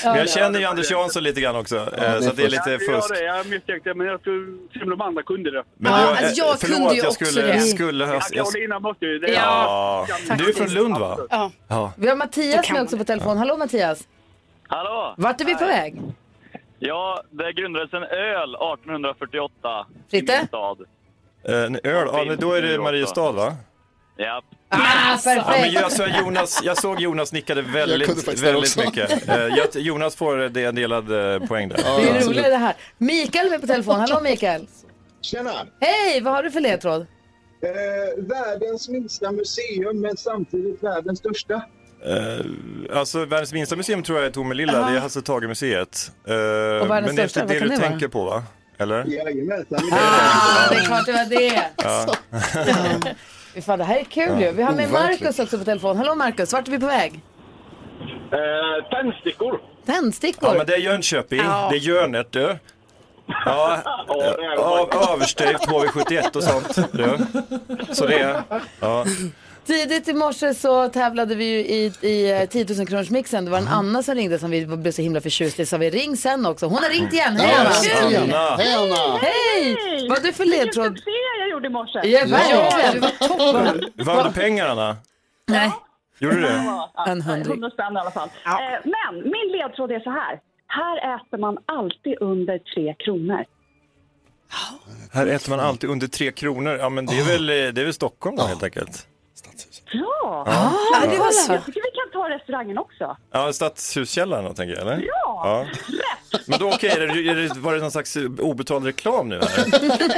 Speaker 13: Men jag känner ju Anders Jansson lite grann också, eh, så att det är lite
Speaker 7: Ja,
Speaker 13: fusk.
Speaker 7: det gör det. Jag misstänkte, men jag tror till och med de andra kunde det.
Speaker 13: Men det var- eh, förlåt, jag skulle, skulle ha...
Speaker 7: Ja, Carolina måste ju det.
Speaker 13: Ja, du är
Speaker 7: Faktiskt.
Speaker 13: från Lund va?
Speaker 1: Ja.
Speaker 13: Ja.
Speaker 1: Vi har Mattias med också på telefon. Hallå Mattias.
Speaker 14: Hallå!
Speaker 1: Vart är vi på väg?
Speaker 14: Ja, det grundades en öl 1848.
Speaker 1: Fritte?
Speaker 14: I min stad.
Speaker 13: Eh, En öl, ja, men då är det
Speaker 14: Finns
Speaker 13: Mariestad va?
Speaker 14: Ja.
Speaker 1: Ah,
Speaker 13: Ja, men jag, såg Jonas, jag såg Jonas nickade
Speaker 3: Jag kunde
Speaker 13: väldigt,
Speaker 3: faktiskt
Speaker 13: väldigt
Speaker 3: det också.
Speaker 13: mycket. Eh, jag- Jonas får eh, det en delad eh, poäng där.
Speaker 1: Det är roligare det här. Mikael är med på telefon. Hallå Mikael.
Speaker 15: Tjena!
Speaker 1: Hej, vad har du för ledtråd?
Speaker 15: Eh, världens minsta museum, men samtidigt världens största.
Speaker 13: Eh, alltså världens minsta museum tror jag är Tomelilla, det är Hasse Tage-museet. Eh, men det är
Speaker 1: största,
Speaker 13: inte
Speaker 1: vad
Speaker 13: det
Speaker 1: kan
Speaker 13: du
Speaker 1: det vara?
Speaker 13: tänker på va? Eller?
Speaker 15: Jajamensan.
Speaker 1: Ah, det är klart det var det.
Speaker 13: Ja.
Speaker 1: Fy Fan, det här är kul ju. Vi har med
Speaker 13: Overkligt.
Speaker 1: Markus också på telefon. Hallå Markus, vart är vi på väg?
Speaker 7: Eh, tändstickor.
Speaker 1: Tändstickor?
Speaker 13: ja men det är Jönköping,
Speaker 1: Ja.
Speaker 13: det är Jörnet du. Ja, av, Överstyvt HV71 och sånt. Du. Så det är, ja.
Speaker 1: Tidigt i morse så tävlade vi ju i, i eh, 10 000 kronors mixen. Det var
Speaker 13: Mm.
Speaker 1: en Anna som ringde som vi blev så himla förtjust i. Så vi ring sen också. Hon har ringt
Speaker 13: Mm.
Speaker 1: igen. Hej
Speaker 3: Ja,
Speaker 1: Anna!
Speaker 3: Hej, Anna. Hej, Anna.
Speaker 1: Hej! Vad du för ledtråd?
Speaker 16: jag gjorde i morse.
Speaker 1: Ja, verkligen. Du var toppen.
Speaker 13: Vann du pengar Anna?
Speaker 1: Nej.
Speaker 13: Gjorde du det?
Speaker 16: Ja, ja,
Speaker 1: En hundring.
Speaker 16: 100 spänn i alla fall. Eh, Men min ledtråd är så här. Här äter man alltid under tre kronor.
Speaker 13: Här äter man alltid under tre kronor. Ja men det är väl, eh, det är väl Stockholm då helt enkelt.
Speaker 16: Bra!
Speaker 13: Ja. Ah, det var så.
Speaker 16: Jag tycker vi kan ta restaurangen också.
Speaker 13: Ja, Stadshuskällaren då, tänker jag eller?
Speaker 16: Ja.
Speaker 13: Men då okej, är det- är det- var det någon slags eh, obetald reklam nu här?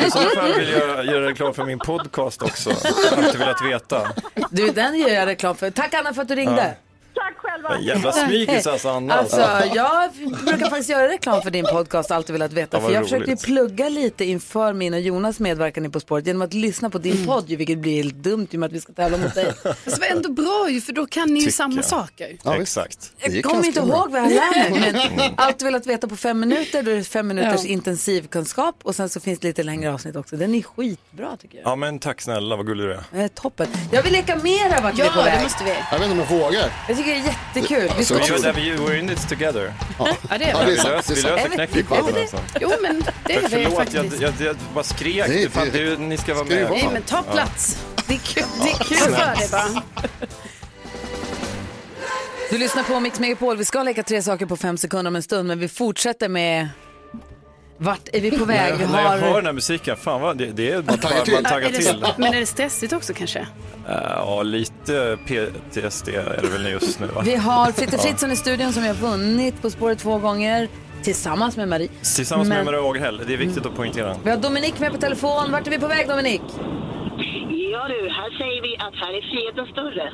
Speaker 13: I så fall vill jag göra reklam för min podcast också. Jag har alltid velat veta.
Speaker 1: Du, den gör jag reklam för. Tack Anna för att du ringde.
Speaker 16: Tack själva!
Speaker 13: En jävla smygis alltså Anna.
Speaker 1: Alltså, jag brukar faktiskt göra reklam för din podcast, alltid velat veta.
Speaker 13: Ja, vad
Speaker 1: för jag
Speaker 13: roligt.
Speaker 1: försökte ju plugga lite inför min och Jonas medverkan i På spåret genom att lyssna på din podd, ju, vilket blir helt dumt i och med att vi ska tävla mot dig.
Speaker 2: Fast det var ändå bra ju, för då kan ni ju samma saker.
Speaker 13: Exakt.
Speaker 1: Jag kommer inte ihåg vad jag lär mig, men
Speaker 2: Mm.
Speaker 1: allt velat veta på fem minuter, då är det fem minuters
Speaker 2: Ja.
Speaker 1: intensivkunskap och sen så finns det lite längre avsnitt också. Den är skitbra tycker
Speaker 13: Ja men tack snälla, vad gullig du är.
Speaker 1: jag. Eh, toppen. Jag vill leka mera vart vi är på väg.
Speaker 3: Jag vet inte om jag vågar.
Speaker 1: Jag tycker det är jättekul. Vi
Speaker 13: Så
Speaker 1: ska
Speaker 13: vi gör det, vi- we're in it together.
Speaker 2: Ja, det är
Speaker 13: vi.
Speaker 2: vi.
Speaker 13: löser- Vi
Speaker 2: Är
Speaker 13: löser
Speaker 2: vi-
Speaker 13: knäckekvården
Speaker 2: är vi
Speaker 13: alltså.
Speaker 2: Jo, men det
Speaker 13: Men
Speaker 2: är vi
Speaker 13: förlåt, jag,
Speaker 2: faktiskt.
Speaker 13: jag, jag bara skrek. Det, fan, du, ni ska vara med.
Speaker 2: Nej, men ta
Speaker 13: Ja.
Speaker 2: plats.
Speaker 1: Det är kul,
Speaker 2: det är kul för dig bara.
Speaker 1: Du lyssnar på Mix Megapol. Vi ska leka tre saker på fem sekunder om en stund, men vi fortsätter med vart är vi på väg? Vi
Speaker 13: När, när jag hör
Speaker 1: har...
Speaker 13: den här musiken, fan vad det, det är bara
Speaker 3: taggar till.
Speaker 13: man taggar
Speaker 2: Är det-
Speaker 13: till.
Speaker 2: Men är det stressigt också kanske?
Speaker 13: Eh, Ja, lite PTSD är det väl just nu va?
Speaker 1: Vi har Fritte Fritzson i studion som jag vunnit På spåret två gånger tillsammans med Marie.
Speaker 13: Ja. Tillsammans med
Speaker 1: Men-
Speaker 13: Maria Ågerhäll, det är viktigt att poängtera.
Speaker 1: Vi har Dominik med på telefon. Vart är vi på väg Dominik?
Speaker 17: Ja du, här säger vi att här är friheten större.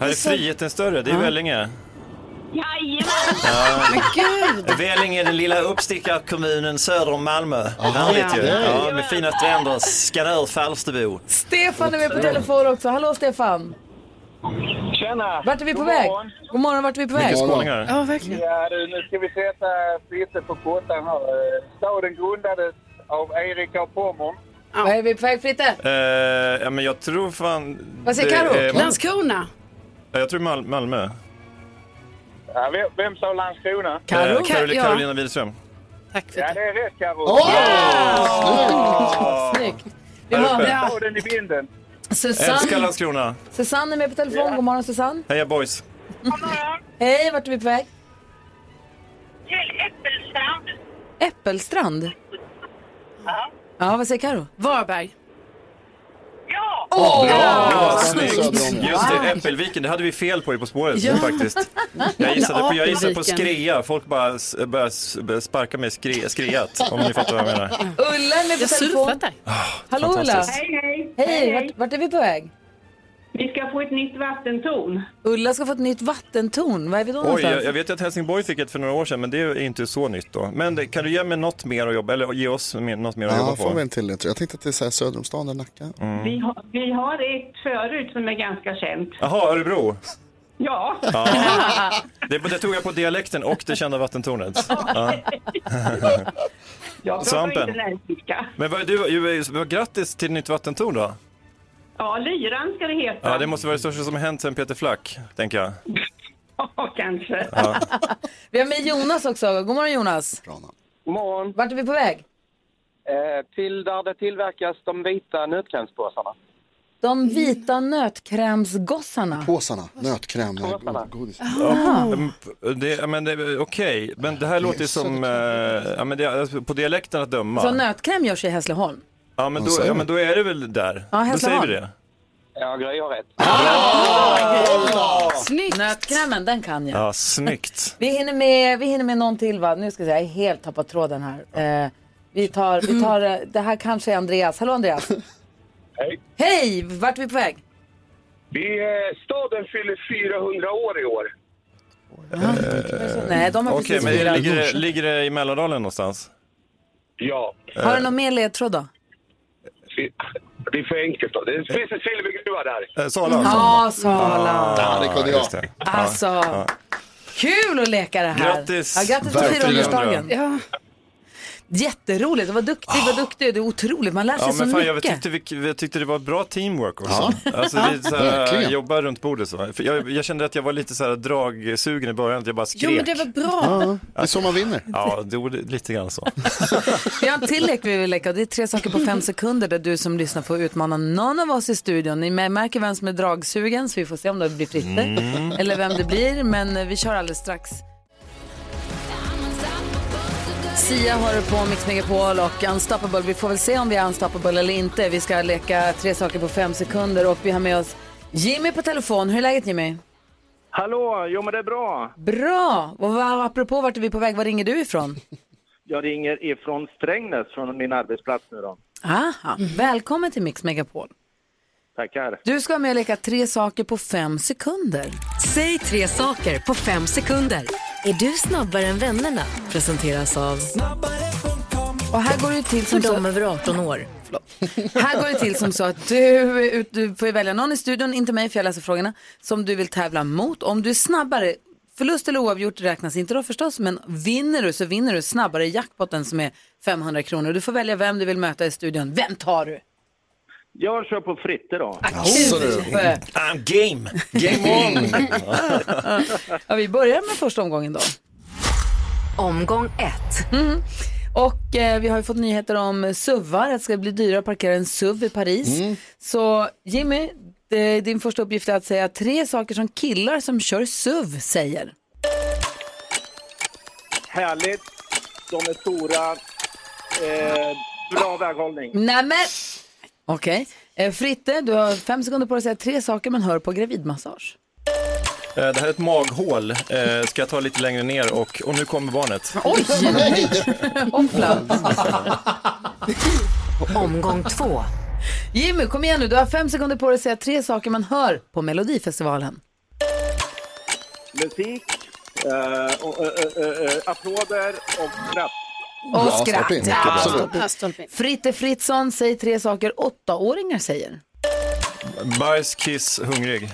Speaker 13: Här är friheten större, det är
Speaker 18: Ja.
Speaker 13: Vellinge.
Speaker 10: Jajamän!
Speaker 13: Ja.
Speaker 2: Men gud!
Speaker 17: Vellinge är den lilla uppstickarkommunen söder om Malmö.
Speaker 13: Aha.
Speaker 17: Härligt ju.
Speaker 13: Ja.
Speaker 17: Ja, med fina stränder. Skanör, Falsterbo.
Speaker 1: Stefan är med på telefon också. Hallå Stefan!
Speaker 7: Tjena!
Speaker 1: Vart är vi på
Speaker 7: God
Speaker 1: väg?
Speaker 7: morgon.
Speaker 1: God morgon, vart är vi på väg? Ja, verkligen.
Speaker 7: Ja, du, nu ska vi sätta priset på kåtan här. Eh, Staden grundades av Erik av Pommern.
Speaker 1: Vad är vi på väg Fritte?
Speaker 13: Eh, ja, men jag tror fan...
Speaker 1: Vad säger
Speaker 13: det är-
Speaker 1: Karo?
Speaker 2: Mm. Landskrona?
Speaker 13: Ja, Jag tror Mal- Malmö.
Speaker 7: Ja, vem, vem sa Landskrona?
Speaker 13: Eh, Karoli- Karolina Widerström.
Speaker 2: Tack
Speaker 7: för ja, det. är rätt Karo.
Speaker 1: Åh! Snyggt! Vi har
Speaker 13: Ja.
Speaker 7: Staden i vinden.
Speaker 13: Älskar
Speaker 1: Susanne.
Speaker 13: Landskrona.
Speaker 1: Susanne är med på telefon. God morgon Susanne.
Speaker 13: Heja boys.
Speaker 1: Hej, vart är vi på väg?
Speaker 10: Till Äppelstrand.
Speaker 1: Äppelstrand.
Speaker 10: Ja.
Speaker 1: Ja, vad säger Karo?
Speaker 2: Varberg.
Speaker 10: Ja!
Speaker 13: Bra,
Speaker 1: Ja,
Speaker 13: bra, snyggt!
Speaker 1: snyggt.
Speaker 13: Just det, Äppelviken, det hade vi fel på i På spåret
Speaker 1: Ja.
Speaker 13: faktiskt. Jag gissade på, jag gissade på
Speaker 1: Apelviken.
Speaker 13: skrea, folk bara s- började s- började sparka mig i skre, skreat, om ni fattar vad jag menar.
Speaker 1: Ulla är med på
Speaker 10: Jag
Speaker 1: telefon. Hallå Ulla!
Speaker 10: Fantastiskt. Hej, hej.
Speaker 1: Hej,
Speaker 10: Hej, hej.
Speaker 1: vart, vart är vi på väg?
Speaker 10: Vi ska få ett nytt vattentorn.
Speaker 14: Mm.
Speaker 1: Ulla ska få ett nytt vattentorn. Var är vi då
Speaker 13: Oj,
Speaker 1: någonstans?
Speaker 13: jag, jag vet ju att Helsingborg fick ett för några år sedan, men det är inte så nytt då. Men det, kan du ge mig något mer att jobba, eller ge oss mer- något mer att
Speaker 3: Ja,
Speaker 13: jobba
Speaker 3: får vi
Speaker 13: på?
Speaker 3: en till. Jag tänkte att det är så här söder om stan, där Nacka.
Speaker 13: Mm.
Speaker 10: Vi, har, vi har ett förut som är ganska känt.
Speaker 13: Jaha, Örebro.
Speaker 10: Ja.
Speaker 13: Ja. Det, det tog jag på dialekten och det kända vattentornet. Ja.
Speaker 10: Jag pratar
Speaker 13: Svampen.
Speaker 10: inte näringsrika.
Speaker 13: Men vad är du, ju- vad- grattis till nytt vattentorn då.
Speaker 10: Ja, Lyran ska det heta.
Speaker 13: Ja, det måste vara det största som har hänt sedan Peter Flack, tänker jag.
Speaker 10: Ja, kanske.
Speaker 13: Ja.
Speaker 1: Vi har med Jonas också. God morgon Jonas.
Speaker 7: God morgon.
Speaker 1: Vart är vi på väg?
Speaker 7: Eh, till där det tillverkas de vita nötkrämspåsarna.
Speaker 1: De vita nötkrämsgossarna.
Speaker 3: Påsarna, nötkräm, god- godis.
Speaker 1: Ah.
Speaker 13: Mm, Det, ja, men det, okej, men det här låter ju som, eh, ja, men det, alltså, på dialekten att
Speaker 1: Så
Speaker 13: döma.
Speaker 1: nötkräm görs i Hässleholm.
Speaker 13: Ja men, då,
Speaker 7: säger
Speaker 13: ja,
Speaker 7: du?
Speaker 13: men då är det väl där. då
Speaker 1: Ja,
Speaker 13: säger vi
Speaker 1: Hässleholm.
Speaker 13: det.
Speaker 7: Ja, Gry har rätt.
Speaker 1: Snyggt! Nötkrämen, den kan jag.
Speaker 13: Ja, snyggt.
Speaker 1: Vi hinner med, vi hinner med någon till va? Nu ska jag säga, jag har helt tappat tråden här. Eh, vi tar, vi tar, eh, det här kanske är Andreas. Hallå Andreas!
Speaker 7: Hej.
Speaker 1: Hej! Vart är vi på väg?
Speaker 7: Vi, eh, staden fyller 400 år i år.
Speaker 1: Nej, de har
Speaker 13: Okej,
Speaker 1: precis
Speaker 13: men det
Speaker 1: firat.
Speaker 13: ligger, det, ligger det i Mälardalen någonstans?
Speaker 7: Ja.
Speaker 1: Har du någon mer ledtråd då?
Speaker 7: Det är för enkelt. Då. Det finns en silvergruva där.
Speaker 13: Eh, Sala? alltså.
Speaker 1: Ja, Sala.
Speaker 13: Ah,
Speaker 7: Ja, det kunde jag.
Speaker 13: just det. Ja,
Speaker 1: Alltså.
Speaker 13: ja.
Speaker 1: Kul att leka det här!
Speaker 13: Grattis.
Speaker 1: Ja, grattis på
Speaker 13: Verkligen.
Speaker 1: 400-årsdagen! Ja. Jätteroligt, vad duktig, vad duktig du är, otroligt, man lär sig
Speaker 13: Ja,
Speaker 1: så
Speaker 13: men fan, jag,
Speaker 1: mycket.
Speaker 13: tyckte vi, jag tyckte det var bra teamwork också. Alltså, vi så här,
Speaker 2: Verkligen.
Speaker 13: jobbar runt bordet så. För Jag, jag kände att jag var lite så här dragsugen i början, att jag bara skrek.
Speaker 2: Jo, men det var bra.
Speaker 13: det är så man vinner. Ja, det var lite grann så. Eh,
Speaker 1: Vi har en till lek vi vill leka och det är tre saker på fem sekunder där du som lyssnar får utmana någon av oss i studion. Ni märker vem som är dragsugen så vi får se om det blir Fritte
Speaker 10: Mm.
Speaker 1: eller vem det blir. Men eh, vi kör alldeles strax. Sia har du på Mix Megapol och Unstoppable. Vi får väl se om vi är Unstoppable eller inte. Vi ska leka tre saker på fem sekunder och vi har med oss Jimmy på telefon. Hur är läget Jimmy?
Speaker 19: Hallå, jo men det är bra.
Speaker 1: Bra! Och vad- apropå vart är vi på väg? Var ringer du ifrån?
Speaker 19: Jag ringer ifrån Strängnäs från min arbetsplats nu då.
Speaker 1: Aha, välkommen till Mix Megapol.
Speaker 19: Tackar.
Speaker 1: Du ska vara med och leka tre saker på fem sekunder.
Speaker 20: Säg tre saker på fem sekunder. Är du snabbare än vännerna? Presenteras av...
Speaker 1: Och här går det till som
Speaker 20: För
Speaker 1: så...
Speaker 20: dem över 18 år.
Speaker 1: Här går det till som så att du, du får välja någon i studion, inte mig för jag läser frågorna, som du vill tävla mot. Om du är snabbare, förlust eller oavgjort räknas inte då förstås, men vinner du så vinner du snabbare i jackpotten som är 500 kronor. Du får välja vem du vill möta i studion. Vem tar du?
Speaker 19: Jag kör på Fritte då.
Speaker 1: Jaså, du. kul.
Speaker 17: I'm game. Game on.
Speaker 1: Ja, vi börjar med första omgången då.
Speaker 20: Omgång ett.
Speaker 1: Mm. Och eh, vi har ju fått nyheter om SUVar, att det ska bli dyrare att parkera en SUV i Paris. Så Jimmy, det, din första uppgift är att säga tre saker som killar som kör SUV säger.
Speaker 19: Härligt. De är stora. Eh, bra väghållning.
Speaker 1: Nämen! Okej. Eh, Fritte, du har fem sekunder på dig att säga tre saker man hör på gravidmassage.
Speaker 13: Eh, Det här är ett maghål. Eh, Ska jag ta lite längre ner och, och nu kommer barnet.
Speaker 1: Oj! Nej! Hoppla!
Speaker 20: Omgång två.
Speaker 1: Jimmy, kom igen nu. Du har fem sekunder på dig att säga tre saker man hör på Melodifestivalen.
Speaker 19: musik, eh, och, eh, eh, eh, applåder och skratt.
Speaker 1: Och skratt. Ja, stolpe in. Fritte Fritzson, säg tre saker åttaåringar säger.
Speaker 13: Bajs, kiss, hungrig.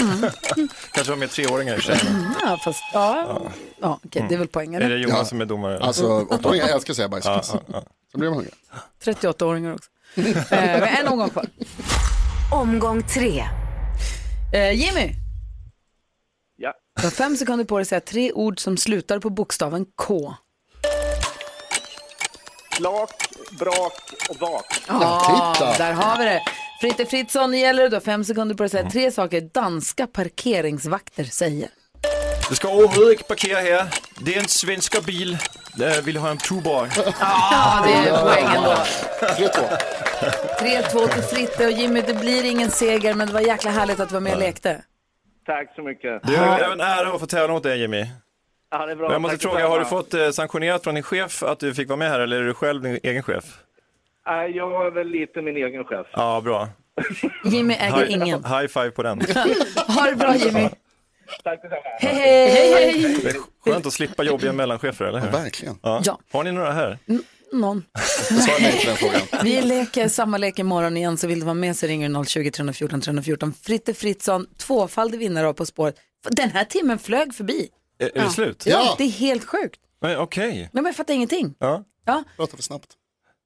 Speaker 19: Mm.
Speaker 13: Kanske var med treåringar i och för sig.
Speaker 1: Ja, fast ja, ja okej, det är väl poängen.
Speaker 13: Mm. Är
Speaker 19: Mm.
Speaker 13: det Johan som är domare?
Speaker 1: Alltså, åttaåringar älskar
Speaker 3: att säga bajs, kiss.
Speaker 13: Så blir man hungrig.
Speaker 1: 38-åringar också. eh, vi har en omgång kvar.
Speaker 20: Omgång tre.
Speaker 1: Eh, Jimmy,
Speaker 19: Ja.
Speaker 1: du har fem sekunder på dig att säga tre ord som slutar på bokstaven K.
Speaker 19: Lak, brak och vak.
Speaker 1: Ja, där har vi det. Fritte Fritzson, nu gäller det. Du har fem sekunder på dig att säga tre saker danska parkeringsvakter säger.
Speaker 13: Du ska överhuvudtaget inte
Speaker 17: Parkera här. Det är en svenska bil. Jag vill ha en tuborg.
Speaker 1: Ja, det är poängen då.
Speaker 3: Tre, två.
Speaker 1: 3-2 till Fritte och Jimmy, det blir ingen seger, men det var jäkla härligt att du var med och lekte.
Speaker 19: Tack så mycket.
Speaker 13: Det är en ära att få tävla mot dig Jimmy.
Speaker 19: Ja, det är bra.
Speaker 13: Men jag måste
Speaker 19: Tack
Speaker 13: fråga, har du
Speaker 19: detsamma.
Speaker 13: fått eh, sanktionerat från din chef att du fick vara med här eller är du själv din egen chef?
Speaker 19: Nej, Jag är väl lite min egen chef.
Speaker 13: Ja, bra.
Speaker 1: Jimmy
Speaker 13: High- High five på den.
Speaker 1: ha det bra Jimmy.
Speaker 19: Tack
Speaker 1: Hej, hej.
Speaker 13: Det är skönt att slippa jobbiga mellanchefer, eller hur? Ja,
Speaker 3: verkligen.
Speaker 13: Har ni några här?
Speaker 1: Någon.
Speaker 13: Svara nej på den frågan.
Speaker 1: Vi leker samma lek imorgon igen, så vill du vara med så ringer du 020 314 314. Fritte Fritzson, tvåfaldig vinnare av På spåret. Den här timmen flög förbi.
Speaker 13: Är, är det slut?
Speaker 1: Ja, det är helt sjukt.
Speaker 13: Men Okej.
Speaker 1: Nej, men jag fattar ingenting.
Speaker 13: Ja.
Speaker 1: Ja.
Speaker 3: Prata för snabbt.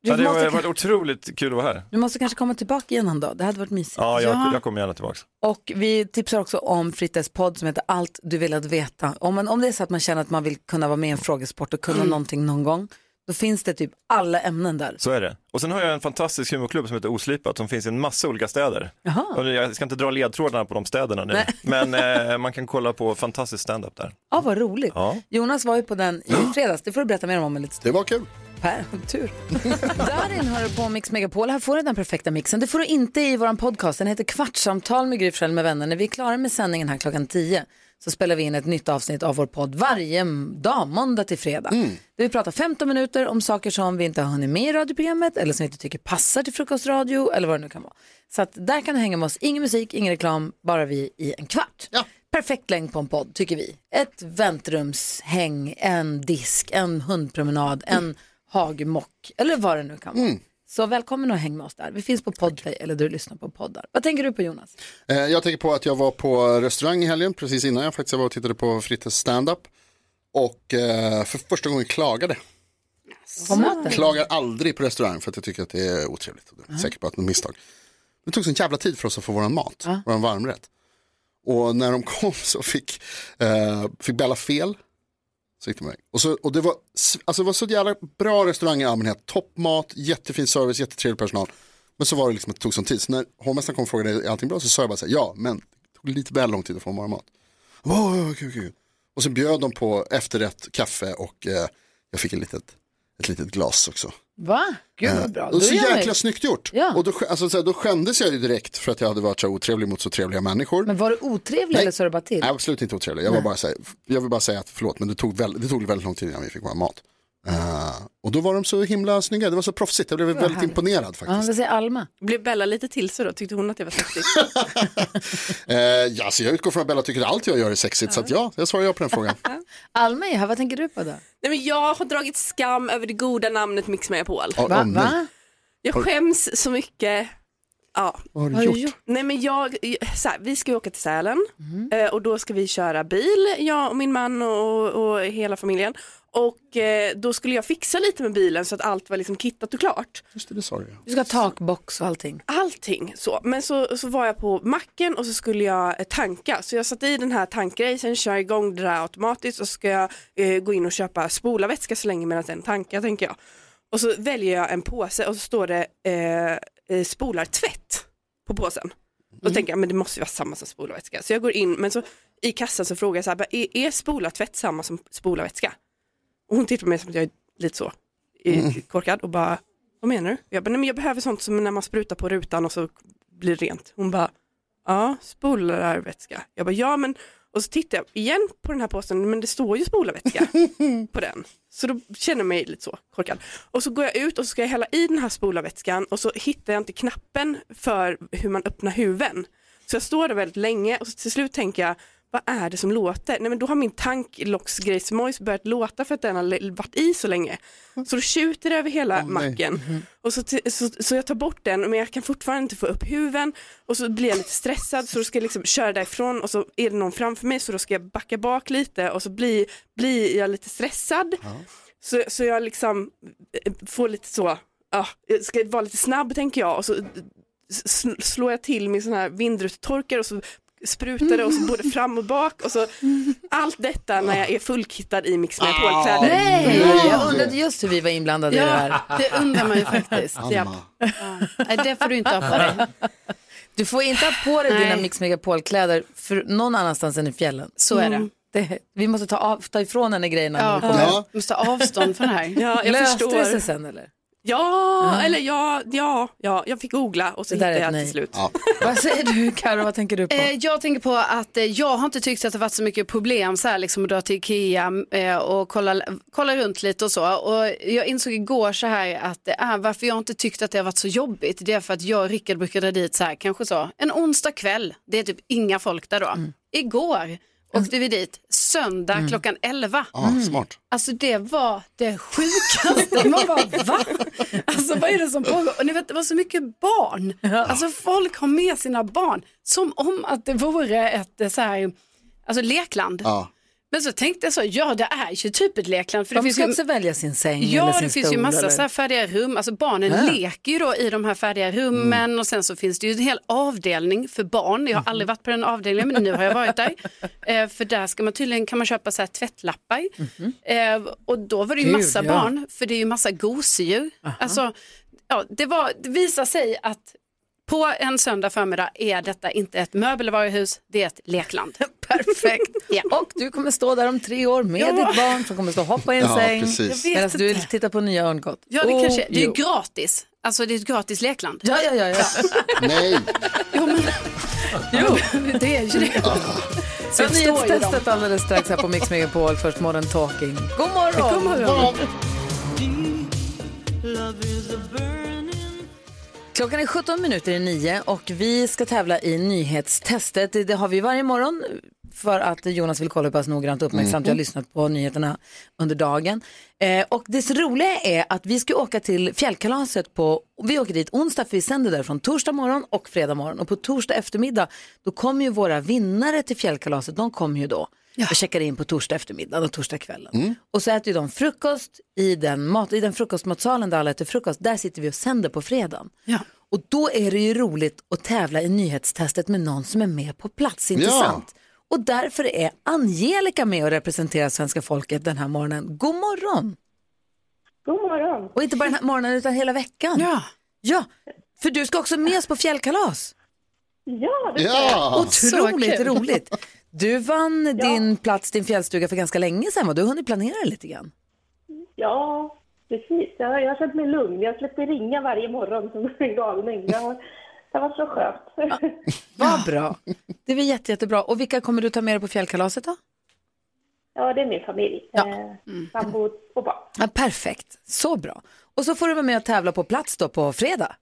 Speaker 1: Du
Speaker 13: Ja, det har
Speaker 1: måste-
Speaker 13: varit otroligt kul att vara här.
Speaker 1: Du måste kanske komma tillbaka igen en dag, det hade varit mysigt.
Speaker 13: Ja, jag, jag kommer gärna tillbaka.
Speaker 1: Och vi tipsar också om Frittes podd som heter Allt du vill att veta. Om, man, om det är så att man känner att man vill kunna vara med i en frågesport och kunna
Speaker 13: Mm.
Speaker 1: någonting någon gång, då finns det typ alla ämnen där.
Speaker 13: Så är det. Och sen har jag en fantastisk humorklubb som heter Oslipat som finns i en massa olika städer. Och jag ska inte dra ledtrådarna på de städerna nu, men eh, man kan kolla på fantastisk standup där.
Speaker 1: Ja, vad roligt.
Speaker 13: Ja.
Speaker 1: Jonas var ju på den i fredags, det får du berätta mer om om en liten stund.
Speaker 3: Det var kul.
Speaker 1: Per, tur. Darin hör på Mix Megapol, här får du den perfekta mixen. Det får du inte i vår podcast, den heter Kvartsamtal med Gry Forssell med vänner. När vi är klara med sändningen här klockan 10 så spelar vi in ett nytt avsnitt av vår podd varje dag, måndag till fredag. Där vi pratar 15 minuter om saker som vi inte har hunnit med i radioprogrammet eller som vi inte tycker passar till frukostradio eller vad det nu kan vara. Så att där kan du hänga med oss, ingen musik, ingen reklam, bara vi i en kvart. Perfekt längd på en podd tycker vi. Ett väntrumshäng, en disk, en hundpromenad, en hagmock eller vad det nu kan vara. Så välkommen och häng med oss där. Vi finns på Podplay eller där du lyssnar på poddar. Vad tänker du på Jonas?
Speaker 3: Eh, Jag tänker på att jag var på restaurang i helgen, precis innan jag faktiskt var och tittade på Frittes standup. Och eh, för första gången klagade.
Speaker 1: På maten?
Speaker 3: Klagar aldrig på restaurang för att jag tycker att det är otrevligt. Jag är Säker på att det är ett misstag. Det tog sån jävla tid för oss att få våran mat, våran varmrätt. Och när de kom så fick, eh, fick Bella fel. Så gick de iväg. och, så, och det, var, s- alltså det var så jävla bra restaurang i allmänhet. Toppmat, jättefin service, jättetrevlig personal. Men så var det liksom att det tog sån tid. Så när hovmästaren kom och frågade är allting bra så sa jag bara så här, ja, men det tog lite väl lång tid att få vår mat. Jag bara, "Oj, oj, oj, oj, oj." Och så bjöd de på efterrätt, kaffe och eh, jag fick ett litet, ett litet glas också.
Speaker 1: Va? Gud vad bra.
Speaker 3: Eh, och
Speaker 1: Då
Speaker 3: så
Speaker 1: är jag liksom-
Speaker 3: jäkla
Speaker 1: nöjd.
Speaker 3: snyggt gjort. Och då, sk- alltså, så här, då skämdes jag ju direkt för att jag hade varit så här otrevlig mot så trevliga människor.
Speaker 1: Men var du otrevlig
Speaker 3: Nej.
Speaker 1: eller sa du bara till?
Speaker 3: Nej, absolut inte otrevlig. Jag, var
Speaker 1: Nej.
Speaker 3: bara så här, jag vill bara säga att förlåt, men det tog, väl, det tog väldigt lång tid innan vi fick vår mat. Eh, och då var de så himla snygga, det var så proffsigt, jag blev
Speaker 8: Det var
Speaker 3: väldigt
Speaker 8: härligt.
Speaker 3: imponerad faktiskt.
Speaker 1: vad säger Alma?
Speaker 8: Blev Bella lite till sig då? Tyckte hon att det var sexigt?
Speaker 3: Eh, ja, så jag utgår från att Bella tycker att allt jag gör är sexigt, så att ja, jag svarar ja på den frågan.
Speaker 1: Alma är här, vad tänker du på då?
Speaker 8: Nej, men jag har dragit skam över det goda namnet Mix Megapol.
Speaker 3: Åh, Va? åh, nej. Va?
Speaker 8: Jag
Speaker 3: Har-
Speaker 8: skäms så mycket. Ja.
Speaker 3: Vad har du Vad har du gjort?
Speaker 8: Nej, men jag, så här, vi ska ju åka till Sälen eh, och då ska vi köra bil, jag och min man och, och hela familjen. Och eh, då skulle jag fixa lite med bilen så att allt var liksom kittat och klart.
Speaker 3: Just det, det sa du ja.
Speaker 1: Du ska ha takbox och allting.
Speaker 8: Allting så. Men så, så var jag på macken och så skulle jag eh, tanka. Så jag satte i den här tankgrejen, kör igång det där automatiskt och så ska jag eh, gå in och köpa spolarvätska så länge medan den tankar tänker jag. Och så väljer jag en påse och så står det eh, eh, spolartvätt på påsen. Och så tänker jag men det måste ju vara samma som spolarvätska. Så jag går in men så i kassan så frågar jag så här, bara, "E-, är, är spolartvätt samma som spolarvätska? Och hon tittar på mig som att jag är lite så eh,
Speaker 21: Mm.
Speaker 8: korkad och bara, vad menar du? Jag bara, nej men jag behöver sånt som när man sprutar på rutan och så blir det rent. Hon bara, ja, spolarvätska. Jag bara, ja men, och så tittar jag igen på den här påsen, men det står ju spolarvätska på den. Så då känner jag mig lite så korkad. Och så går jag ut och så ska jag hälla i den här spolarvätskan och så hittar jag inte knappen för hur man öppnar huven. Så jag står där väldigt länge och så till slut tänker jag, vad är det som låter? Nej men då har min tanklocksgrejsmojs börjat låta för att den har le- varit i så länge. Så då tjuter det över hela macken. Och så, ti- så, så jag tar bort den men jag kan fortfarande inte få upp huven och så blir jag lite stressad så då ska jag liksom köra därifrån och så är det någon framför mig så då ska jag backa bak lite och så blir, blir jag lite stressad. Så, så jag liksom eh, får lite så, ja, jag ska vara lite snabb tänker jag och så eh, s- slår jag till min sån här vindrutetorkare och så sprutar det och så både fram och bak och så allt detta när jag är fullkittad i Mix Megapol-kläder.
Speaker 1: Nej, jag undrade just hur vi var inblandade i det här.
Speaker 2: Ja, det undrar man ju faktiskt.
Speaker 1: Anna.
Speaker 2: Japp. Ja. Nej, det får du inte ha på dig.
Speaker 1: Du får inte ha på dig
Speaker 2: Nej.
Speaker 1: dina Mix Megapol-kläder för någon annanstans än i fjällen.
Speaker 2: Så är det. Mm.
Speaker 1: det vi måste ta, av, ta ifrån henne grejerna. när
Speaker 2: Ja,
Speaker 1: vi kommer.
Speaker 2: måste ta avstånd från det här.
Speaker 8: Ja, jag
Speaker 1: Löste
Speaker 8: förstår.
Speaker 1: det sig sen eller?
Speaker 8: Ja,
Speaker 1: Ah.
Speaker 8: eller ja, ja, ja, jag fick googla och så
Speaker 1: Det där
Speaker 8: hittade
Speaker 1: är ett
Speaker 8: jag
Speaker 1: nej.
Speaker 8: till slut.
Speaker 1: Vad säger du Karo, vad tänker du på?
Speaker 2: Eh, jag tänker på att eh, jag har inte tyckt att det varit så mycket problem så här liksom att dra till Ikea eh, och kolla, kolla runt lite och så. Och jag insåg igår så här att eh, varför jag inte tyckt att det har varit så jobbigt det är för att jag och Rickard brukar dra dit så här kanske så en onsdag kväll. Det är typ inga folk där då. Igår åkte vi dit söndag
Speaker 1: Mm.
Speaker 2: klockan 11.
Speaker 3: Ja, smart.
Speaker 2: Alltså det var det sjukaste. Man bara va? Alltså vad är det som pågår? Och ni vet det var så mycket barn. Alltså folk har med sina barn. Som om att det vore ett eh, så här, alltså lekland.
Speaker 3: Ja.
Speaker 2: Men så tänkte jag så, ja det är ju typ ett lekland. För det
Speaker 1: De
Speaker 2: finns
Speaker 1: ska
Speaker 2: ju,
Speaker 1: också välja sin säng eller
Speaker 2: ja
Speaker 1: sin
Speaker 2: det finns ju
Speaker 1: stol,
Speaker 2: massa
Speaker 1: eller?
Speaker 2: så här färdiga rum. Alltså barnen
Speaker 1: Ja. Mm.
Speaker 2: leker ju då i de här färdiga rummen och sen så finns det ju en hel avdelning för barn. Jag har aldrig varit på den avdelningen men nu har jag varit där. Eh, för där ska man tydligen, kan man köpa så här tvättlappar. Eh, och då var det ju
Speaker 1: Mhm. Gud,
Speaker 2: massa
Speaker 1: ja.
Speaker 2: barn, för det är ju massa gosedjur. Alltså, ja, det, var, det visar sig att på en söndag förmiddag är detta inte ett möbelvaruhus, det är ett lekland.
Speaker 1: Perfekt. Och du kommer stå där om tre år med
Speaker 2: Ja.
Speaker 1: ditt barn som kommer stå och hoppa i en
Speaker 2: Ja,
Speaker 1: säng.
Speaker 2: precis. Jag vet
Speaker 1: Medan
Speaker 2: inte.
Speaker 1: du tittar på nya örngott.
Speaker 2: Ja, det,
Speaker 1: Oh,
Speaker 2: kanske, det är
Speaker 1: jo.
Speaker 2: ju gratis. Alltså det är ett gratis lekland.
Speaker 1: Ja, ja, ja. ja.
Speaker 3: Nej.
Speaker 2: Jo, men, det är ju det.
Speaker 1: Så
Speaker 2: Jag förstår ju
Speaker 1: nyhetstestet alldeles strax här på Mix Megapol. Först morgon talking. God morgon!
Speaker 2: God morgon.
Speaker 1: Klockan är 17 minuter i nio och vi ska tävla i nyhetstestet. Det det har vi varje morgon för att Jonas vill kolla hur pass noggrant och uppmärksamt
Speaker 12: Mm.
Speaker 1: jag har lyssnat på nyheterna under dagen. Eh, och det roliga är att vi ska åka till fjällkalaset på, vi åker dit onsdag för vi sänder därifrån torsdag morgon och fredag morgon. Och på torsdag eftermiddag då kommer ju våra vinnare till fjällkalaset, de kommer ju då. Och checkar in på torsdag eftermiddag och torsdag kvällen. Och så äter ju de frukost i den, mat, i den frukostmatsalen där alla äter frukost. Där sitter vi och sänder på fredagen. Och då är det ju roligt att tävla i nyhetstestet med någon som är med på plats, inte
Speaker 12: Ja.
Speaker 1: sant? Och därför är Angelica med och representerar svenska folket den här morgonen. God morgon!
Speaker 21: God morgon!
Speaker 1: Och inte bara den här morgonen utan hela veckan. Ja. Ja, för du ska också med oss på fjällkalas.
Speaker 21: Ja,
Speaker 1: det
Speaker 21: ska jag.
Speaker 1: Otroligt
Speaker 21: Så kul.
Speaker 1: roligt. Du vann din plats, din fjällstuga för ganska länge sedan. Vad du har hunnit planera lite grann.
Speaker 21: Ja, precis. Jag, har- jag har känt mig lugn. Jag släpper ringa varje morgon som en galning. Jag, har- det var så skönt.
Speaker 1: Vad bra. Det var jätte, jättebra. Och vilka kommer du ta med dig på fjällkalaset då?
Speaker 21: Ja, det är min familj. Ja.
Speaker 8: Mm.
Speaker 21: Sambo och barn.
Speaker 1: Ja, perfekt, så bra. Och så får du vara med och tävla på plats då på fredag.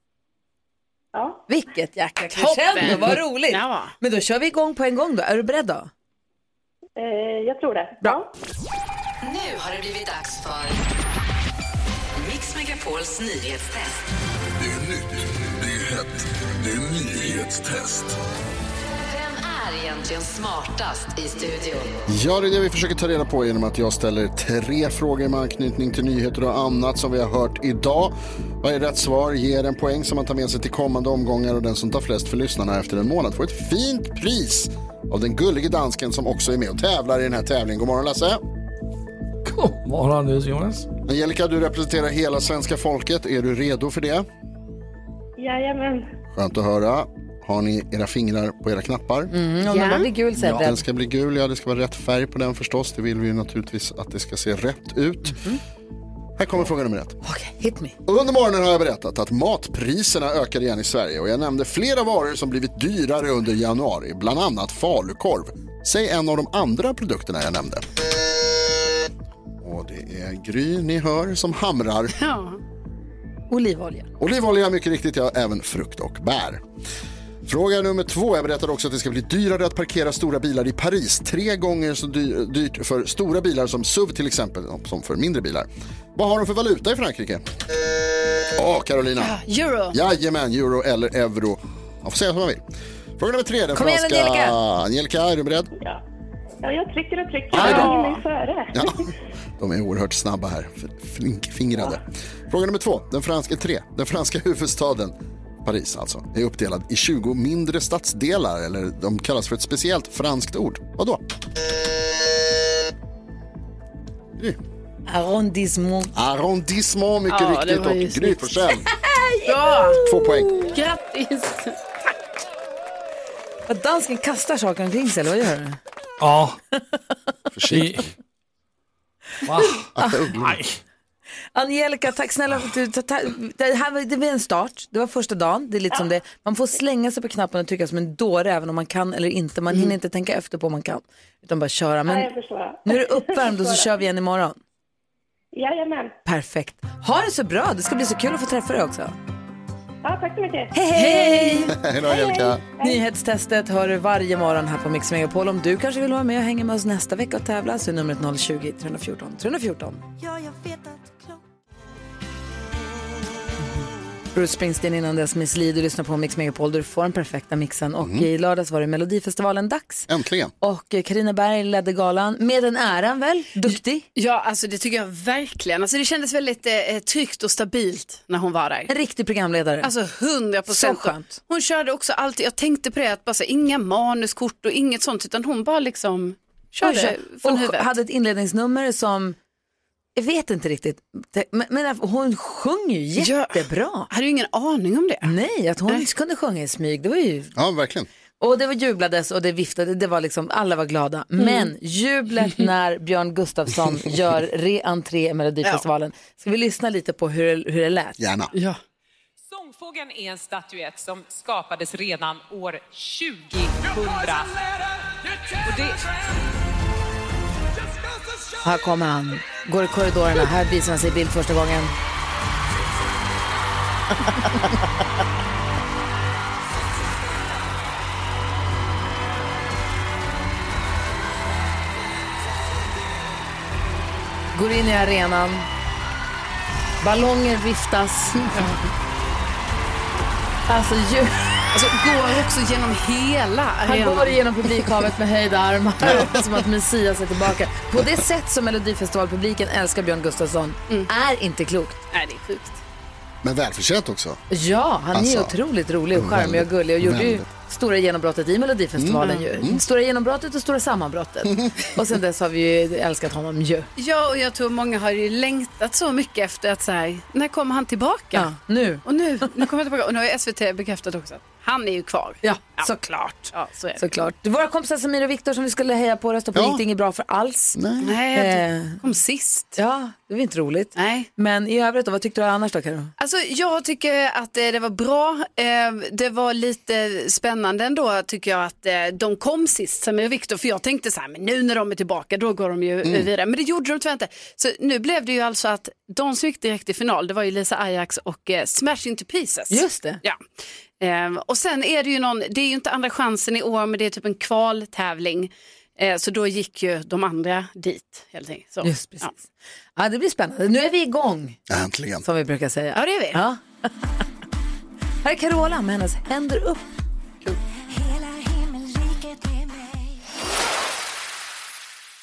Speaker 21: Ja.
Speaker 1: Vilket jäkla
Speaker 21: Toppen.
Speaker 1: crescendo, vad roligt.
Speaker 21: Ja.
Speaker 1: Men då kör vi igång på en gång då. Är du beredd då?
Speaker 21: Eh, jag tror det.
Speaker 1: Bra.
Speaker 20: Nu har det blivit dags för Mix Megapols nyhetstest.
Speaker 18: Det är nytt, det är hett, det är nyhetstest.
Speaker 20: Vem är egentligen smartast i studion?
Speaker 3: Ja, det är det vi försöker ta reda på genom att jag ställer tre frågor med anknytning till nyheter och annat som vi har hört idag. Varje rätt svar ger en poäng som man tar med sig till kommande omgångar och den som tar flest för lyssnarna efter en månad får ett fint pris av den gullige dansken som också är med och tävlar i den här tävlingen. God morgon Lasse!
Speaker 4: God morgon nu Jonas.
Speaker 3: Angelica, du representerar hela svenska folket. Är du redo för det?
Speaker 21: Jajamän.
Speaker 3: Skönt att höra. Har ni era fingrar på era knappar?
Speaker 1: Mm, om den Ja. bara blir gul så är jag beredd.
Speaker 3: Den ska bli gul, ja. Det ska vara rätt färg på den förstås. Det vill vi ju naturligtvis att det ska se rätt ut. Här kommer fråga nummer ett.
Speaker 1: Hit me.
Speaker 3: Under morgonen har jag berättat att matpriserna ökar igen i Sverige och jag nämnde flera varor som blivit dyrare under januari, bland annat falukorv. Säg en av de andra produkterna jag nämnde. Och det är Gry ni hör som hamrar.
Speaker 2: Ja.
Speaker 1: Olivolja.
Speaker 3: Olivolja mycket riktigt, ja, även frukt och bär. Fråga nummer två. Jag berättade också att det ska bli dyrare att parkera stora bilar i Paris. Tre gånger så dy- dyrt för stora bilar som SUV till exempel, som för mindre bilar. Vad har de för valuta i Frankrike? Åh, Carolina.
Speaker 2: Euro.
Speaker 3: Jajamän, euro eller euro. Man får säga som man vill. Fråga nummer tre. Den
Speaker 21: Kom igen,
Speaker 3: franska...
Speaker 21: Angelica.
Speaker 3: Angelica, är du beredd?
Speaker 21: Ja, jag trycker och trycker. Jag hinner mig före.
Speaker 3: Ja, de är oerhört snabba här. Flinkfingrade. Fråga nummer två. Den franska, tre. Den franska huvudstaden Paris alltså, är uppdelad i 20 mindre stadsdelar, eller de kallas för ett speciellt franskt ord. Vadå?
Speaker 1: Arrondissement.
Speaker 3: Arrondissement, mycket
Speaker 1: Ja, det
Speaker 3: riktigt,
Speaker 1: var ju
Speaker 3: och Gry
Speaker 1: snyggt.
Speaker 3: Forssell.
Speaker 1: Ja!
Speaker 3: Två poäng.
Speaker 1: Grattis! Vad dansken kastar saker omkring sig, eller vad gör du?
Speaker 4: Ja.
Speaker 3: Försiktigt.
Speaker 4: Va?
Speaker 1: Ah.
Speaker 3: Akta ugglorna.
Speaker 1: Angelica, tack snälla för att du... ta- ta- Det här var, det var en start, det var första dagen. Det är lite som det, man får slänga sig på knappen och tycka som en dåre även om man kan eller inte. Man hinner inte tänka efter på om man kan, utan bara köra.
Speaker 21: Mm. Ja,
Speaker 1: Men
Speaker 21: jag förstår.
Speaker 1: nu är du uppvärmd och så kör vi igen imorgon.
Speaker 21: Jajamän.
Speaker 1: Perfekt. Ha det så bra, det ska bli så kul att få träffa dig också.
Speaker 21: Ja, tack så mycket.
Speaker 1: Hej, hej!
Speaker 3: Hej då, Angelica.
Speaker 1: Nyhetstestet hör du varje morgon här på Mix Megapol. Om du kanske vill vara med och hänga med oss nästa vecka och tävla så är numret 020-314 314.
Speaker 5: Ja, jag vet att klockan...
Speaker 1: Bruce Springsteen innan dess Miss Li, du lyssnar på Mix Megapol, du får den perfekta mixen. Och i lördags var det Melodifestivalen-dags.
Speaker 3: Äntligen.
Speaker 1: Och eh, Carina Berg ledde galan, med den äran väl? Duktig?
Speaker 2: Ja, alltså det tycker jag verkligen. Alltså det kändes väldigt eh, tryggt och stabilt när hon var där.
Speaker 1: En riktig programledare.
Speaker 2: Alltså 100 procent.
Speaker 1: Så skönt.
Speaker 2: Hon körde också alltid, jag tänkte på det, att bara, så, inga manuskort och inget sånt, utan hon bara liksom körde från
Speaker 1: och
Speaker 2: huvudet.
Speaker 1: hade ett inledningsnummer som, jag vet inte riktigt, men, men hon sjöng ju jättebra. Jag
Speaker 2: hade ju ingen aning om det.
Speaker 1: Nej, att hon kunde sjunga i smyg, det var ju
Speaker 3: Ja, verkligen.
Speaker 1: Och det var jublades och det viftade, det var liksom, alla var glada. Men jublet när Björn Gustafsson gör re-entré i Melodifestivalen. Ska vi lyssna lite på hur, hur det lät?
Speaker 3: Gärna.
Speaker 1: Ja.
Speaker 22: Sångfågeln är en statyett som skapades redan år 2000. Och det...
Speaker 1: Här kommer han, går i korridorerna, här visar han sig i bild första gången. Går in i arenan. Ballonger viftas. Alltså, ju...
Speaker 2: alltså går också genom hela
Speaker 1: Han
Speaker 2: arenan.
Speaker 1: går genom publikhavet med höjda armar som att Messias är tillbaka. På det sätt som Melodifestivalpubliken älskar Björn Gustafsson är inte klokt.
Speaker 2: Nej, det är sjukt.
Speaker 3: Men välförtjänt också.
Speaker 1: Ja, han är
Speaker 3: Alltså,
Speaker 1: ju otroligt rolig och charmig och
Speaker 3: väldigt,
Speaker 1: gullig och gjorde ju
Speaker 3: väldigt.
Speaker 1: stora genombrottet i Melodifestivalen
Speaker 2: Mm.
Speaker 1: ju.
Speaker 2: Mm.
Speaker 1: Stora genombrottet och stora sammanbrottet. och sen dess har vi ju älskat honom ju.
Speaker 2: Ja, och jag tror många har ju längtat så mycket efter att så här, när kommer han tillbaka?
Speaker 1: Ja, nu.
Speaker 2: Och nu, nu kommer han tillbaka. Och nu har ju SVT bekräftat också att han är ju kvar.
Speaker 1: Ja, såklart.
Speaker 2: Ja, så är det.
Speaker 1: Såklart. Våra kompisar Samir och Viktor som vi skulle heja på rösta på gick det inget bra för alls.
Speaker 3: Nej,
Speaker 1: Eh.
Speaker 2: Nej, kom sist.
Speaker 1: Ja, det var inte roligt.
Speaker 2: Nej.
Speaker 1: Men i övrigt då, vad tyckte du annars då Karo?
Speaker 2: Alltså, jag tycker att eh, det var bra. Eh, Det var lite spännande ändå tycker jag att eh, de kom sist, Samir och Viktor. För jag tänkte så här, men nu när de är tillbaka då går de ju
Speaker 1: Mm.
Speaker 2: eh, vidare. Men det gjorde de tyvärr inte. Så nu blev det ju alltså att de som gick direkt i final, det var ju Lisa Ajax och eh, Smash Into Pieces.
Speaker 1: Just det.
Speaker 2: Ja. Eh, Och sen är det ju någon, det är ju inte andra chansen i år, men det är typ en kvaltävling. Eh, Så då gick ju de andra dit helt enkelt. Så,
Speaker 1: Just precis.
Speaker 2: Ja.
Speaker 1: Ja, det blir spännande. Nu är vi igång.
Speaker 3: Äntligen.
Speaker 1: Som vi brukar säga.
Speaker 2: Ja, det är vi.
Speaker 1: Ja. Här är Carola med hennes Händer upp.